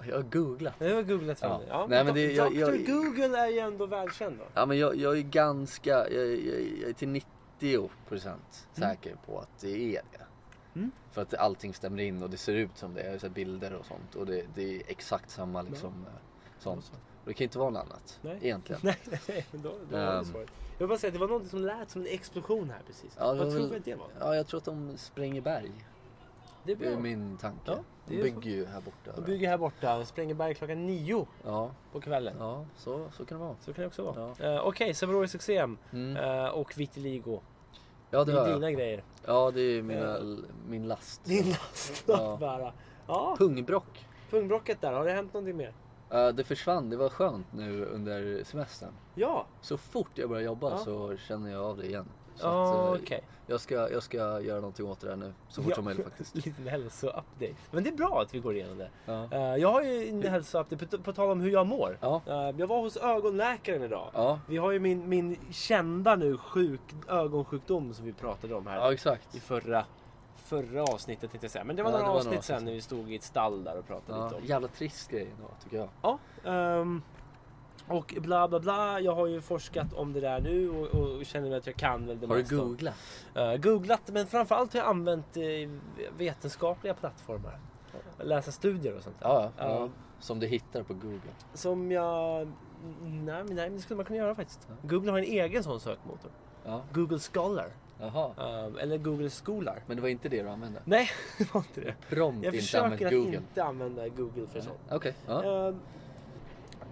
B: Jag har googlat.
A: Jag har googlat fram
B: Ja.
A: det. Ja,
B: Nej, men
A: men
B: det-
A: do-
B: jag- jag-
A: Dr. Google är ju ändå välkänd då.
B: Ja men jag, jag är ganska, jag, jag, jag är till 90 procent säker på att det är det.
A: Mm.
B: För att allting stämmer in och det ser ut som det. Jag har så här bilder och sånt och det, det är exakt samma liksom eh, sånt. Och det kan inte vara något annat
A: Nej.
B: egentligen.
A: Nej, nej, men då, då har
B: Ehm.
A: du svaret. Jag vill bara säga att det var något som lät som en explosion här precis.
B: Ja, det var
A: Vad tror
B: väl-
A: vi att det var?
B: Ja, jag tror att de spränger berg.
A: Det är
B: Det är
A: bra.
B: min tanke.
A: Ja, det
B: de
A: är
B: bygger ju här borta.
A: De bygger här borta, spränger berg klockan nio
B: Ja,
A: på kvällen.
B: ja så, så kan det vara.
A: Så kan det också vara.
B: Ja.
A: Eh, Okej, seboroiskt eksem
B: Mm.
A: eh, och vitiligo.
B: Ja,
A: Det
B: det har
A: är
B: jag.
A: dina grejer.
B: Ja, det är mina, min last.
A: Din last
B: Ja.
A: att bära. Ja,
B: Pungbrock.
A: pungbrocket där. Har det hänt någonting mer?
B: Eh, Det försvann. Det var skönt nu under semestern.
A: Ja,
B: Så fort jag börjar jobba
A: Ja.
B: så känner jag av det igen. Så
A: Ja,
B: att, eh,
A: okej.
B: jag, ska, jag ska göra någonting åt det där nu så fort
A: Ja.
B: som möjligt faktiskt.
A: Liten hälso-update. Men det är bra att vi går igenom det.
B: Ja.
A: Eh, jag har ju en hälso-update på, på tal om hur jag mår.
B: Ja.
A: Eh, jag var hos ögonläkaren idag.
B: Ja.
A: Vi har ju min, min kända nu sjuk, ögonsjukdom som vi pratade om här
B: ja,
A: i
B: exakt.
A: förra, förra avsnittet tänkte jag säga. Men det var
B: Ja,
A: några
B: det var några
A: avsnitt sen
B: avsnitt.
A: när vi stod i ett stall där och pratade
B: Ja,
A: lite om.
B: jävla trist grej ändå tycker jag.
A: Ja, ehm, och bla bla bla. Jag har ju forskat om det där nu och, och känner att jag kan väl det
B: Har du
A: mesta om-
B: googlat?
A: Eh, googlat men framförallt har jag använt eh, vetenskapliga plattformar. Läsa studier och sånt. där.
B: Ja, ja.
A: Ja.
B: ja. Som du hittar på Google.
A: Som jag... Nej, men nej, men det skulle man kunna göra faktiskt.
B: Ja.
A: Google har en egen sån sökmotor.
B: Ja.
A: Google Scholar.
B: Jaha.
A: eh, eller Google Scholar.
B: Men det var inte det du använde?
A: Nej, det var inte det.
B: Prompt
A: Jag
B: inte använt
A: försöker att
B: Google?
A: inte använda Google för sånt.
B: Okej. Ja.
A: Eh,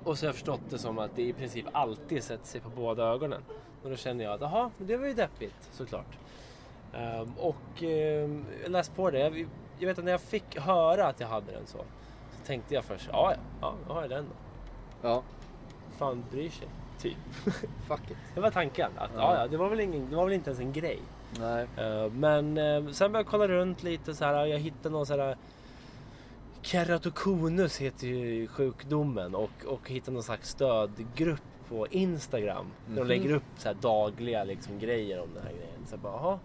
A: och så har jag förstått det som att det i princip alltid sätter sig på båda ögonen. Och då känner jag att jaha, men det var ju deppigt såklart. Um, och ehm, jag läste på det. Jag, jag vet att när jag fick höra att jag hade den så, så tänkte jag först, ja ja, ja, då har jag den då.
B: ja.
A: fan bryr sig? Typ.
B: Fuck it.
A: Det var tanken. Att,
B: Ja.
A: ja. Ja, det, var väl ingen, det var väl inte ens en grej.
B: Nej.
A: Eh, men eh, sen började jag kolla runt lite så här. Jag hittade någon så här. Keratokonus heter ju sjukdomen och, och hittade någon slags stödgrupp på Instagram. Där
B: Mhm.
A: de lägger upp så här dagliga liksom, grejer om den här grejen. Så jag bara, aha.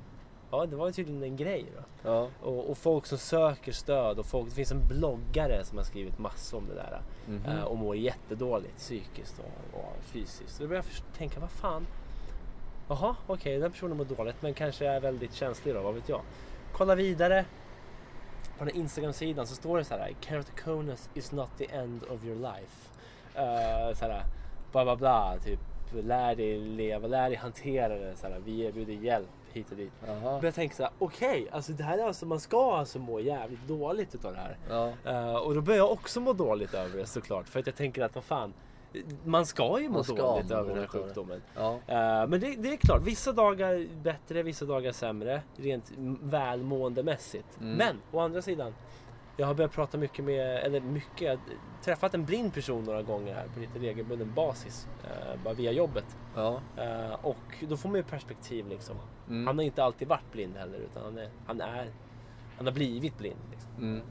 A: Ja, det var ju tydligen en grej då.
B: Ja.
A: Och, och folk som söker stöd och folk, det finns en bloggare som har skrivit massor om det där.
B: Mhm.
A: eh, Och mår jättedåligt psykiskt och, och fysiskt. Så då började jag först- tänka, vad fan. Jaha, okej den personen mår dåligt men kanske är väldigt känslig då, vad vet jag. Kolla vidare. På den här Instagram-sidan så står det så här. Keratoconus is not the end of your life. Uh, så här, bla bla bla. Typ, lär dig leva, lär dig hantera det. Så här, vi erbjuder hjälp hit och dit.
B: Jaha.
A: Men jag tänkte såhär, okej, alltså det här är alltså, man ska alltså må jävligt dåligt utav det här.
B: Ja.
A: Eh, och då börjar jag också må dåligt över det såklart. För att jag tänker att vad fan, man ska ju må
B: Man ska
A: dåligt
B: må
A: över den här
B: dåligt över det.
A: sjukdomen.
B: Ja.
A: Eh, men det, det är klart, vissa dagar bättre, vissa dagar sämre. Rent m- välmåendemässigt.
B: Mm.
A: Men å andra sidan, jag har börjat prata mycket med, eller mycket, jag har träffat en blind person några gånger här på lite regelbunden basis. eh, bara via jobbet.
B: Ja.
A: Eh, och då får man ju perspektiv liksom.
B: Mm.
A: Han har inte alltid varit blind heller utan han är, han är han har blivit blind. Liksom.
B: Mm.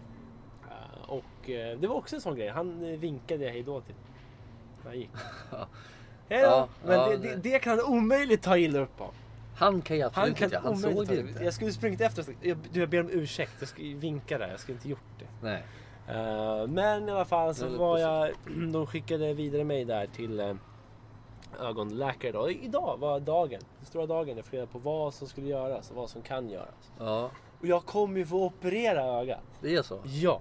A: Eh, och eh, det var också en sån grej. Han eh, vinkade jag hejdå till. När han gick. Hej då!
B: Ja,
A: Men
B: ja,
A: det,
B: det-
A: det, det kan han omöjligt ta illa upp av.
B: Han kan ju absolut
A: Han kan
B: inte. Han
A: omöjligt
B: såg
A: ta
B: ju
A: illa
B: inte.
A: Jag skulle sprungit efter och sagt, jag, du, jag ber om ursäkt. Jag ska ju vinka där. Jag skulle inte gjort det.
B: Nej.
A: Eh, men i alla fall så
B: Väldigt
A: var jag... De skickade vidare mig där till eh, ögonläkare då. Idag var dagen. Den stora dagen. Jag fick reda på vad som skulle göras och vad som kan göras.
B: Ja.
A: Och jag kommer ju få operera ögat.
B: Det är så.
A: Ja.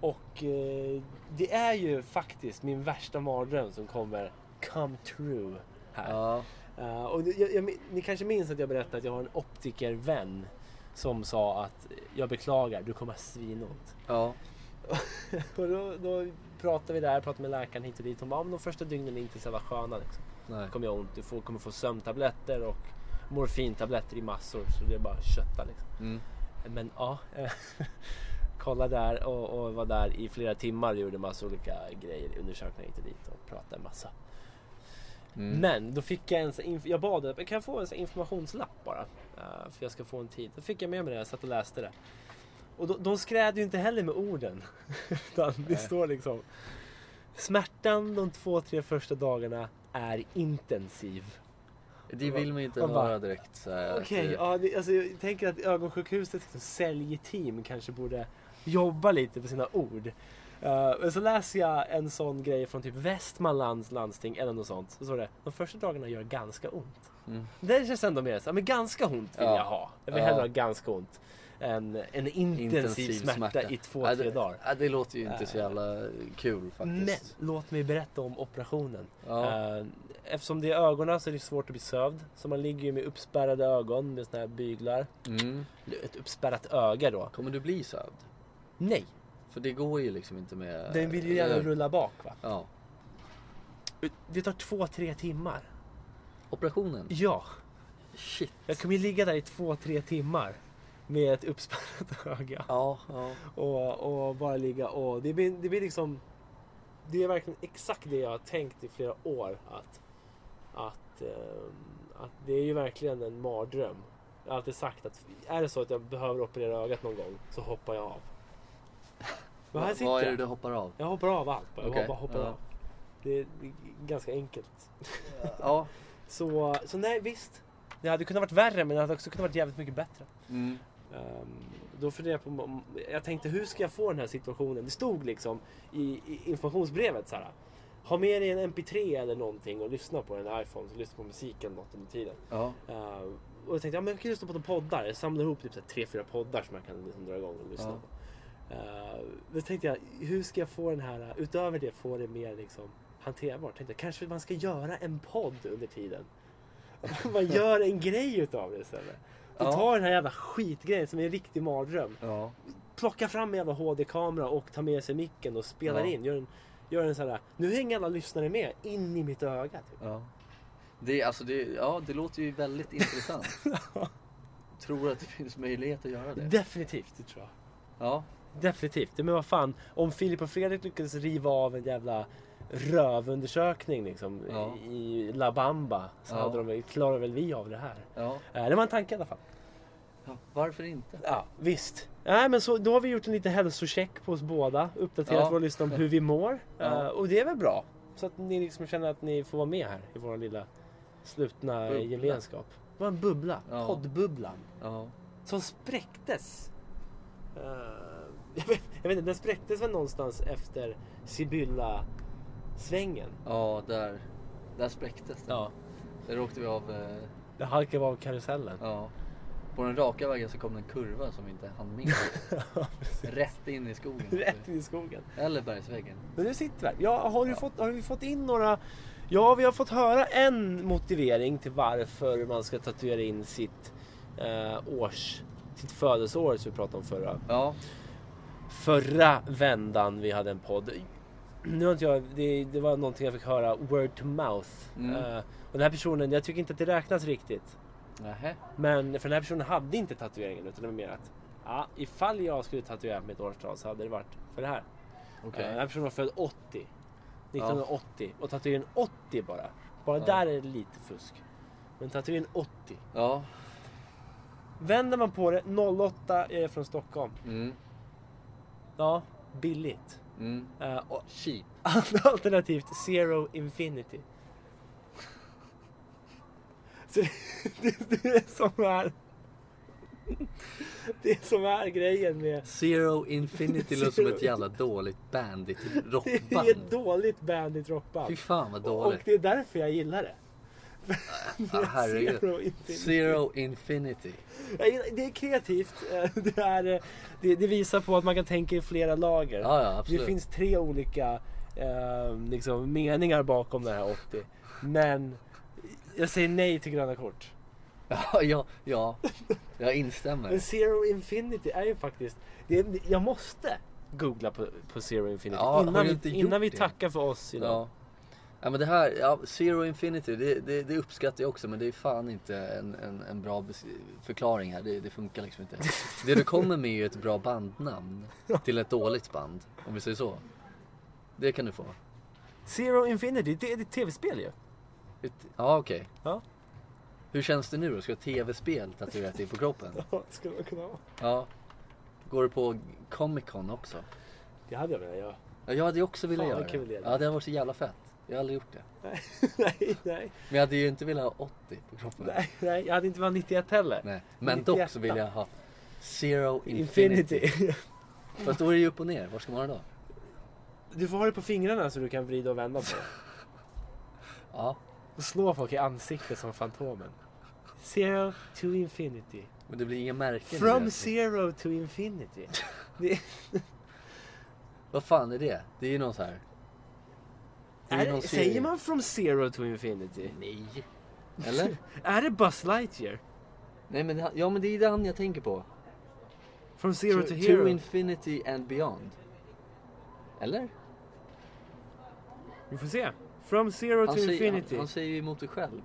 A: Och eh, det är ju faktiskt min värsta mardröm som kommer come true här.
B: Ja.
A: Eh, och det- jag, jag, ni kanske minns att jag berättade att jag har en optikervän som sa att jag beklagar, du kommer ha svinont.
B: Ja.
A: Och då, då pratade vi där, pratade med läkaren hit och dit. Hon bara, om de första dygnen är inte så jävla sköna. Liksom.
B: Nej.
A: Det kommer jag ont, du får, kommer få sömntabletter och morfintabletter i massor. Så det är bara att kötta liksom.
B: Mm.
A: Men ja, eh, kolla där och, och var där i flera timmar och gjorde massa olika grejer, undersökningar hit och dit och pratade en massa.
B: Mm.
A: Men då fick jag en sån inf- jag bad kan jag få en sån informationslapp bara? Eh, för jag ska få en tid. Då fick jag med mig det, jag satt och läste det. Och de, de skrädde ju inte heller med orden. Utan det
B: Nej.
A: står liksom. Smärtan de två, tre första dagarna är intensiv.
B: Det vill man ju inte
A: Man bara-
B: höra direkt. så här att,
A: Okej,
B: eh,
A: ja, det- alltså, jag tänker att ögonsjukhuset som säljteam kanske borde jobba lite på sina ord. Eh, Men så läser jag en sån grej från typ Västmanlands landsting eller något sånt. Så står det, de första dagarna gör ganska ont.
B: Mm.
A: Det känns ändå mer så, här, men ganska ont vill
B: Ja.
A: jag ha. Jag vill
B: Ja.
A: hellre ha ganska ont än en intensiv, smärta, i två,
B: Ja,
A: tre
B: det-
A: dagar.
B: ja, Det låter ju inte så
A: Äh.
B: jävla kul
A: Men
B: faktiskt.
A: låt mig berätta om operationen.
B: Ja.
A: Eh, Eftersom det är ögonen så är det svårt att bli sövd. Så man ligger ju med uppspärrade ögon med såna här byglar.
B: Mm.
A: ett uppspärrat öga då?
B: Kommer du bli sövd?
A: Nej,
B: För det går ju liksom inte med...
A: den vill ju gärna
B: eller-
A: rulla bak va?
B: Ja.
A: Eh, Det tar två, tre timmar.
B: Operationen?
A: Ja,
B: Shit.
A: jag kommer ju ligga där i två, tre timmar med ett uppspärrat öga
B: Ja, ja.
A: och, och bara ligga och det blir, det blir liksom det är verkligen exakt det jag har tänkt i flera år att att, ehm, att det är ju verkligen en mardröm. Jag har alltid sagt att är det så att jag behöver operera ögat någon gång så hoppar jag av. Men här
B: Vad-
A: sitter
B: Vad är
A: jag.
B: det du hoppar av?
A: Jag hoppar av allt. bara. Jag
B: Okej,
A: bara hoppar
B: ja.
A: av. Det är, det är ganska enkelt.
B: Ja.
A: Så, så nej, visst. Det hade kunnat varit värre men det hade också kunnat varit jävligt mycket bättre.
B: Mm.
A: Ehm, då funderade jag på, om- jag tänkte hur ska jag få den här situationen? Det stod liksom i, i informationsbrevet så här. Ha med dig en MP3 eller någonting och lyssna på en iPhone. Så lyssna på musiken något under tiden.
B: Ja.
A: Ehm, och jag tänkte, ja, men jag kan lyssna på de poddar. Jag samlar ihop typ så här, tre, fyra poddar som jag kan liksom dra igång och lyssna
B: Ja.
A: på. Eh, då tänkte jag, hur ska jag få den här, utöver det, få det mer liksom hanterbart? Tänkte jag, kanske man ska göra en podd under tiden. Att man gör en grej utav det istället. Så
B: Ja.
A: ta den här jävla skitgrejen som är en riktig mardröm.
B: Ja.
A: Plocka fram en jävla HD-kamera och ta med sig micken och spelar
B: Ja.
A: in. Gör en, gör en sån här, nu hänger alla lyssnare med in i mitt öga. Typ.
B: Ja. Det, är- alltså det, ja, det låter ju väldigt intressant. Tror att det finns möjlighet att göra det?
A: Definitivt, det tror jag.
B: Ja.
A: Definitivt. Men vad fan, om Filip och Fredrik lyckades riva av en jävla rövundersökning liksom
B: Ja.
A: i La Bamba. Så
B: Ja.
A: hade de väl, klarar väl vi av det här?
B: Ja.
A: Eh, Det var en tanke i alla fall.
B: ja, varför inte?
A: Ja, visst. Nej, men så, då har vi gjort en liten hälsocheck på oss båda. Uppdaterat
B: Ja.
A: vår lista om hur vi mår.
B: Ja.
A: Eh, och det är väl bra? Så att ni liksom känner att ni får vara med här i vår lilla slutna
B: Bubbla.
A: gemenskap. Det var en bubbla.
B: Ja.
A: Poddbubblan.
B: Ja.
A: Som spräcktes. Eh, jag, vet, jag vet inte, den spräcktes väl någonstans efter Sibylla-svängen.
B: Ja, där, där spräcktes det.
A: Ja.
B: Där åkte vi av. Eh,
A: Det halkade av karusellen.
B: ja. På den raka vägen så kom det en kurva som vi inte hann med. Rätt in i skogen.
A: Rätt in i skogen.
B: Eller bergsväggen.
A: Men nu sitter vi här. Ja, har, du Fått, har vi fått in några... Ja, vi har fått höra en motivering till varför man ska tatuera in sitt eh, års... Sitt födelseår som vi pratade om förra,
B: Ja,
A: förra vändan vi hade en podd. Nu har inte jag, det, det var någonting jag fick höra, word to mouth.
B: Mm.
A: Eh, och den här personen, jag tycker inte att det räknas riktigt.
B: nähä.
A: Men för den här personen hade inte tatueringen utan det var mer att ja, ifall jag skulle tatuera mitt årstal så hade det varit för det här. Eh, Den
B: Okej.
A: här personen var född 80. 1980. Och tatueringen 80 bara. Bara
B: Ja.
A: där är det lite fusk. Men tatueringen 80.
B: Ja.
A: Vänder man på det, 08 är från Stockholm.
B: Mm.
A: Ja, billigt.
B: Mm.
A: Eh, och
B: Cheap.
A: alternativt Zero Infinity. Så det, det, det är som är... Det är som är grejen med...
B: Zero Infinity låter som
A: Zero.
B: ett jävla dåligt bandit
A: Det är ett
B: rockband.
A: dåligt bandit rockband.
B: Fy fan vad
A: Och
B: dåligt.
A: det är därför jag gillar det.
B: Ja, herregud.
A: Zero Infinity.
B: Zero Infinity.
A: Jag gillar- Det är kreativt. Eh, Det, är, eh, det, det visar på att man kan tänka i flera lager.
B: Ja, ja,
A: det
B: absolut.
A: finns tre olika eh, liksom, meningar bakom den här 80. Men jag säger nej till gröna kort.
B: Ja, ja, ja. Jag
A: Men
B: instämmer.
A: Zero Infinity är ju faktiskt... Det, det- jag måste googla på, på Zero Infinity
B: Ja, har du
A: innan,
B: inte
A: vi,
B: gjort
A: innan vi
B: det?
A: tackar för oss idag.
B: Ja. ja, men det här, ja, Zero Infinity, det, det, det uppskattar jag också men det är fan inte en, en, en bra bes- förklaring här. Det, det funkar liksom inte. Det du kommer med är ju ett bra bandnamn till ett dåligt band, om vi säger så. Det kan du få.
A: Zero Infinity, det är ett tv-spel ju.
B: Ett- Ja, okej.
A: Ja.
B: Hur känns det nu då? Ska du ha tv-spel tatuerat in på kroppen?
A: Ja, det skulle man kunna vara.
B: Ja. Går du på Comic Con också?
A: Det hade jag velat göra.
B: Ja, jag hade ju också velat
A: Fan,
B: göra
A: vad kul
B: det.
A: det är.
B: Ja, det har varit så jävla fett. Jag har aldrig gjort det.
A: nej, nej,
B: Men jag hade ju inte velat ha 80 på kroppen.
A: nej, nej. Jag hade inte varit 91 heller.
B: Nej. Men
A: 91.
B: dock så vill jag ha Zero Infinity.
A: Infinity.
B: Fast då är det ju upp och ner. Var ska man ha det då?
A: Du får ha det på fingrarna så du kan vrida och vända på det.
B: Ja,
A: Och slå folk i ansiktet som Fantomen. Zero to infinity.
B: men det blir inga märken. i
A: From
B: det.
A: zero to infinity. Det, är
B: Vad fan är det? Det är ju någon så här. Det är ju någon
A: det,
B: serie.
A: säger man from zero to infinity?
B: Nej. Eller?
A: Är det Buzz Lightyear?
B: Nej men, han- ja men det är den jag tänker på.
A: From zero
B: to,
A: to,
B: to
A: hero?
B: infinity and beyond. Eller?
A: Vi får se. From zero to
B: Han säger, han,
A: infinity.
B: han säger ju emot sig själv.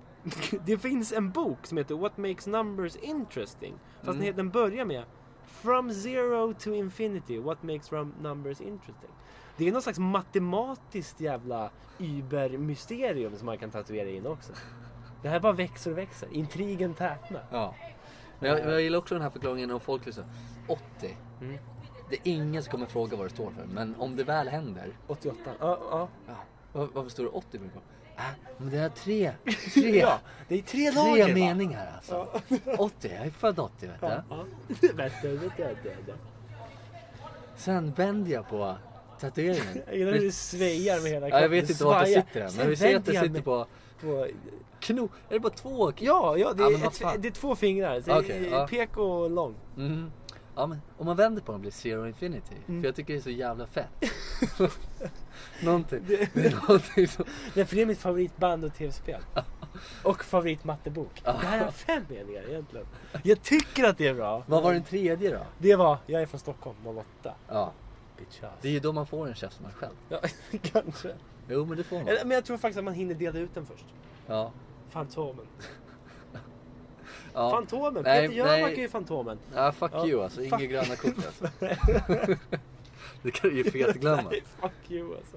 A: Det finns en bok som heter What makes numbers interesting. Fast
B: Mm.
A: den heter- den börjar med From zero to infinity, what makes rum- numbers interesting? Det är någon slags matematiskt jävla übermysterium som man kan tatuera in också. Det här bara växer och växer. Intrigen tätnar.
B: Ja. Men jag, jag gillar också den här förklaringen om folk liksom 80.
A: Mm.
B: Det är ingen som kommer fråga vad det står för. Men om det väl händer.
A: 88. Ja, ja.
B: Ja. Var, varför står det 80 på kroppen? Äh, men det är tre, tre,
A: ja det är tre lager
B: tre
A: va?
B: meningar alltså. 80, jag är född 80 vet du.
A: Ja. Vänta, vänta, vänta.
B: Sen vänder jag på tatueringen.
A: Jag gillar hur du sväjar med hela
B: Ja, jag vet inte vart det
A: Svajar.
B: sitter än. Men
A: Sen
B: vi ser att
A: vänder
B: det
A: jag
B: sitter
A: mig
B: på
A: på
B: kno... Är det bara två? kn-
A: Ja, ja, det,
B: Ja,
A: är
B: men vad
A: ett,
B: fan.
A: det är två fingrar. Så
B: Okej,
A: det är
B: ja.
A: Pek och lång.
B: Mm. Ja, men om man vänder på den blir det Zero Infinity.
A: Mm.
B: För jag tycker det är så jävla fett. någonting. Det är någonting som...
A: Nej, för det är mitt favoritband och tv-spel. Och favoritmattebok. Det här är fem meningar egentligen. Jag tycker att det är bra.
B: Vad var den tredje då?
A: Det var Jag är från Stockholm 08.
B: Ja,
A: Bitch ass.
B: det Mm. är ju då man får en käftsmäll själv.
A: Ja, kanske.
B: Jo, men det får man.
A: Eller, men jag tror faktiskt att man hinner dela ut den först.
B: Ja.
A: Fantomen.
B: ja.
A: Fantomen!
B: Nej,
A: Peter Jöback
B: nej.
A: är ju Fantomen.
B: Ja, fuck
A: Ja,
B: you alltså. Inga
A: fuck.
B: gröna kort alltså. det kan du ju fetglömma.
A: Nej, fuck you alltså.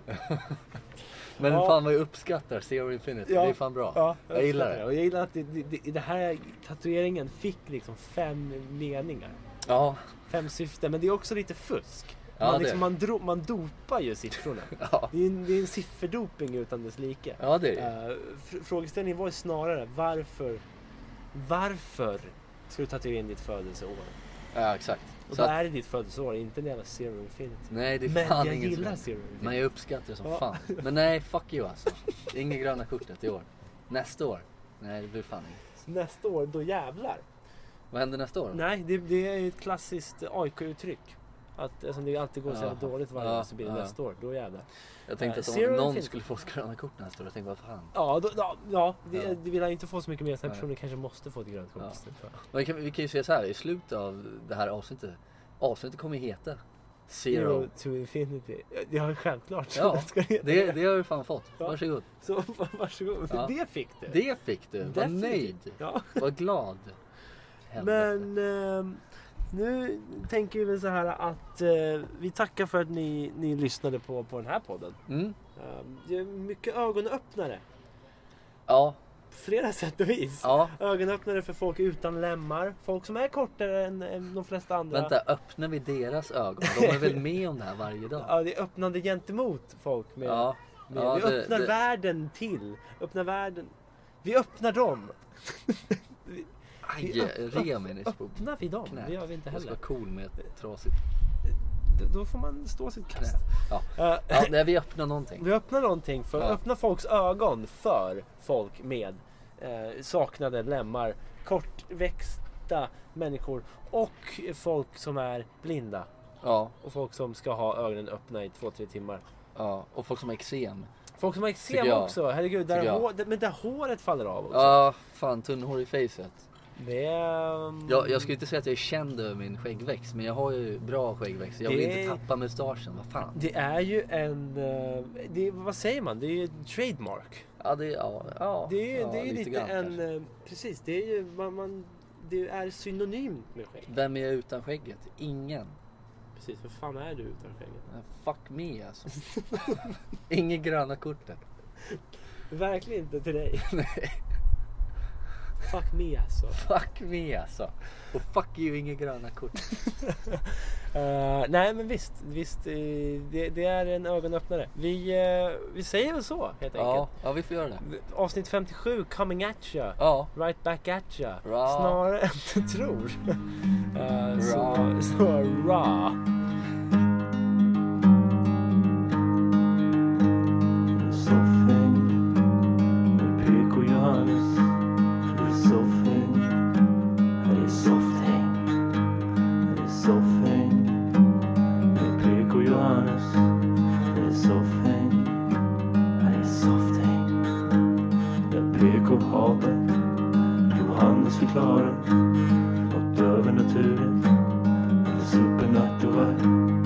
B: Men
A: Ja.
B: fan vad jag uppskattar Zero Infinity.
A: Ja.
B: Det är fan bra.
A: Ja,
B: Jag gillar
A: uppskattar
B: det.
A: Och jag gillar att det, det, det, det här tatueringen fick liksom fem meningar.
B: Ja.
A: Fem syften, men det är också lite fusk.
B: Ja,
A: Man,
B: det är
A: liksom,
B: det.
A: man, dro, man dopar ju siffrorna.
B: Ja.
A: Det är, en, det är en sifferdoping utan dess like.
B: ja, det är det.
A: Eh, fr- frågeställningen var ju snarare varför, varför ska du tatuera in ditt födelseår?
B: Ja, exakt.
A: Och
B: Så
A: då
B: att,
A: är det ditt födelseår, inte en jävla Zero Infinity.
B: nej, det är
A: Men
B: fan
A: jag
B: inget
A: gillar
B: som-
A: Zero Infinity.
B: Men jag uppskattar det som
A: Ja.
B: fan. Men nej, fuck you alltså. Inget gröna kortet i år. Nästa år? Nej, det blir fan inget.
A: Nästa år, då jävlar.
B: Vad händer nästa år? då?
A: Nej, det, det är ju ett klassiskt AIK-uttryck. Att eftersom det alltid går så jävla
B: Ja.
A: dåligt varje
B: Ja,
A: år så blir det
B: ja.
A: nästa år. Då jävlar.
B: Jag tänkte
A: Nej,
B: att
A: Zero
B: om någon
A: Infinity.
B: skulle få ett gröna kort nästa år, jag tänkte vad fan.
A: Ja, då, ja, ja, det,
B: Ja.
A: det vill jag inte få så mycket mer. Den här
B: Nej.
A: personen kanske måste få ett grönt kort.
B: Ja.
A: istället för-
B: Men vi kan, vi kan ju säga så här, i slutet av det här avsnittet. Avsnittet kommer ju heta Zero.
A: Zero to infinity. Det har självklart.
B: Ja,
A: Ska det heta
B: Det, det har du fan fått.
A: Ja.
B: Varsågod.
A: Så varsågod.
B: Ja.
A: Det fick du.
B: Det fick du. Var
A: Definitivt.
B: nöjd.
A: Ja.
B: Var glad. Helvete.
A: Men ehm, nu tänker vi väl så här att eh, vi tackar för att ni, ni lyssnade på, på den här podden.
B: Mm.
A: Ehm, det är mycket ögonöppnare.
B: Ja,
A: På flera sätt och vis.
B: ja.
A: Ögonöppnare för folk utan lemmar. Folk som är kortare än, än de flesta andra.
B: Vänta, öppnar vi deras ögon? De är väl med om det här varje dag?
A: Ja, det är öppnande gentemot folk. Med,
B: Ja.
A: med,
B: Ja,
A: vi
B: det-
A: öppnar
B: det-
A: världen till. Öppnar världen. Vi öppnar dem.
B: Aj,
A: Vi öpp-
B: remen är på
A: Öppnar vi dem?
B: knät.
A: Det gör vi inte
B: Jag ska
A: heller.
B: vara cool med ett trasigt
A: D- Då får man stå sitt kast.
B: knä. Ja.
A: Eh,
B: Ja, nej, vi öppnar någonting.
A: Vi öppnar någonting för
B: Ja.
A: öppna folks ögon för folk med eh, saknade lemmar, kortväxta människor och folk som är blinda
B: Ja,
A: och folk som ska ha ögonen öppna i två, tre timmar.
B: ja. Och folk som har eksem.
A: Folk som har eksem
B: Tycker jag.
A: också, herregud, där
B: Tycker jag.
A: hår, där- men där håret faller av också.
B: Ja, fan tunnhår i facet.
A: Det, ehm,
B: Jag, jag skulle inte säga att jag är känd över min skäggväxt, men jag har ju bra skäggväxt. Jag vill
A: Det-
B: inte tappa mustaschen, vad fan.
A: det är ju en, eh, det, vad säger man, det är ju ett trademark.
B: Ja, det, ja, ja,
A: Det är,
B: ja,
A: det är lite,
B: grann
A: en,
B: kanske.
A: eh, precis, det är ju, man, man, det är synonymt med skägg.
B: Vem är jag utan skägget? Ingen.
A: Precis, vad fan är du utan skägg?
B: Men Fuck me alltså. Inget gröna kortet.
A: Verkligen inte till dig.
B: Nej.
A: Fuck me alltså.
B: Fuck me alltså. Och fuck you, inget gröna kort.
A: Eh, nej men visst, visst eh, det, det är en ögonöppnare. Vi, eh, vi säger väl så helt
B: Ja,
A: enkelt.
B: ja, vi får göra det.
A: Avsnitt 57, coming at ya.
B: Ja,
A: Right back at ya.
B: Ra.
A: Snarare än du tror. Eh, så,
B: Ra.
A: så raw.
D: soffhäng med PK Johannes. Här är soffhäng, här är softhäng. Här är soffhäng med PK Johannes. Här är soffhäng, här är softhäng. Där PK hatar, Johannes förklarar. Något över naturen eller supernaturell.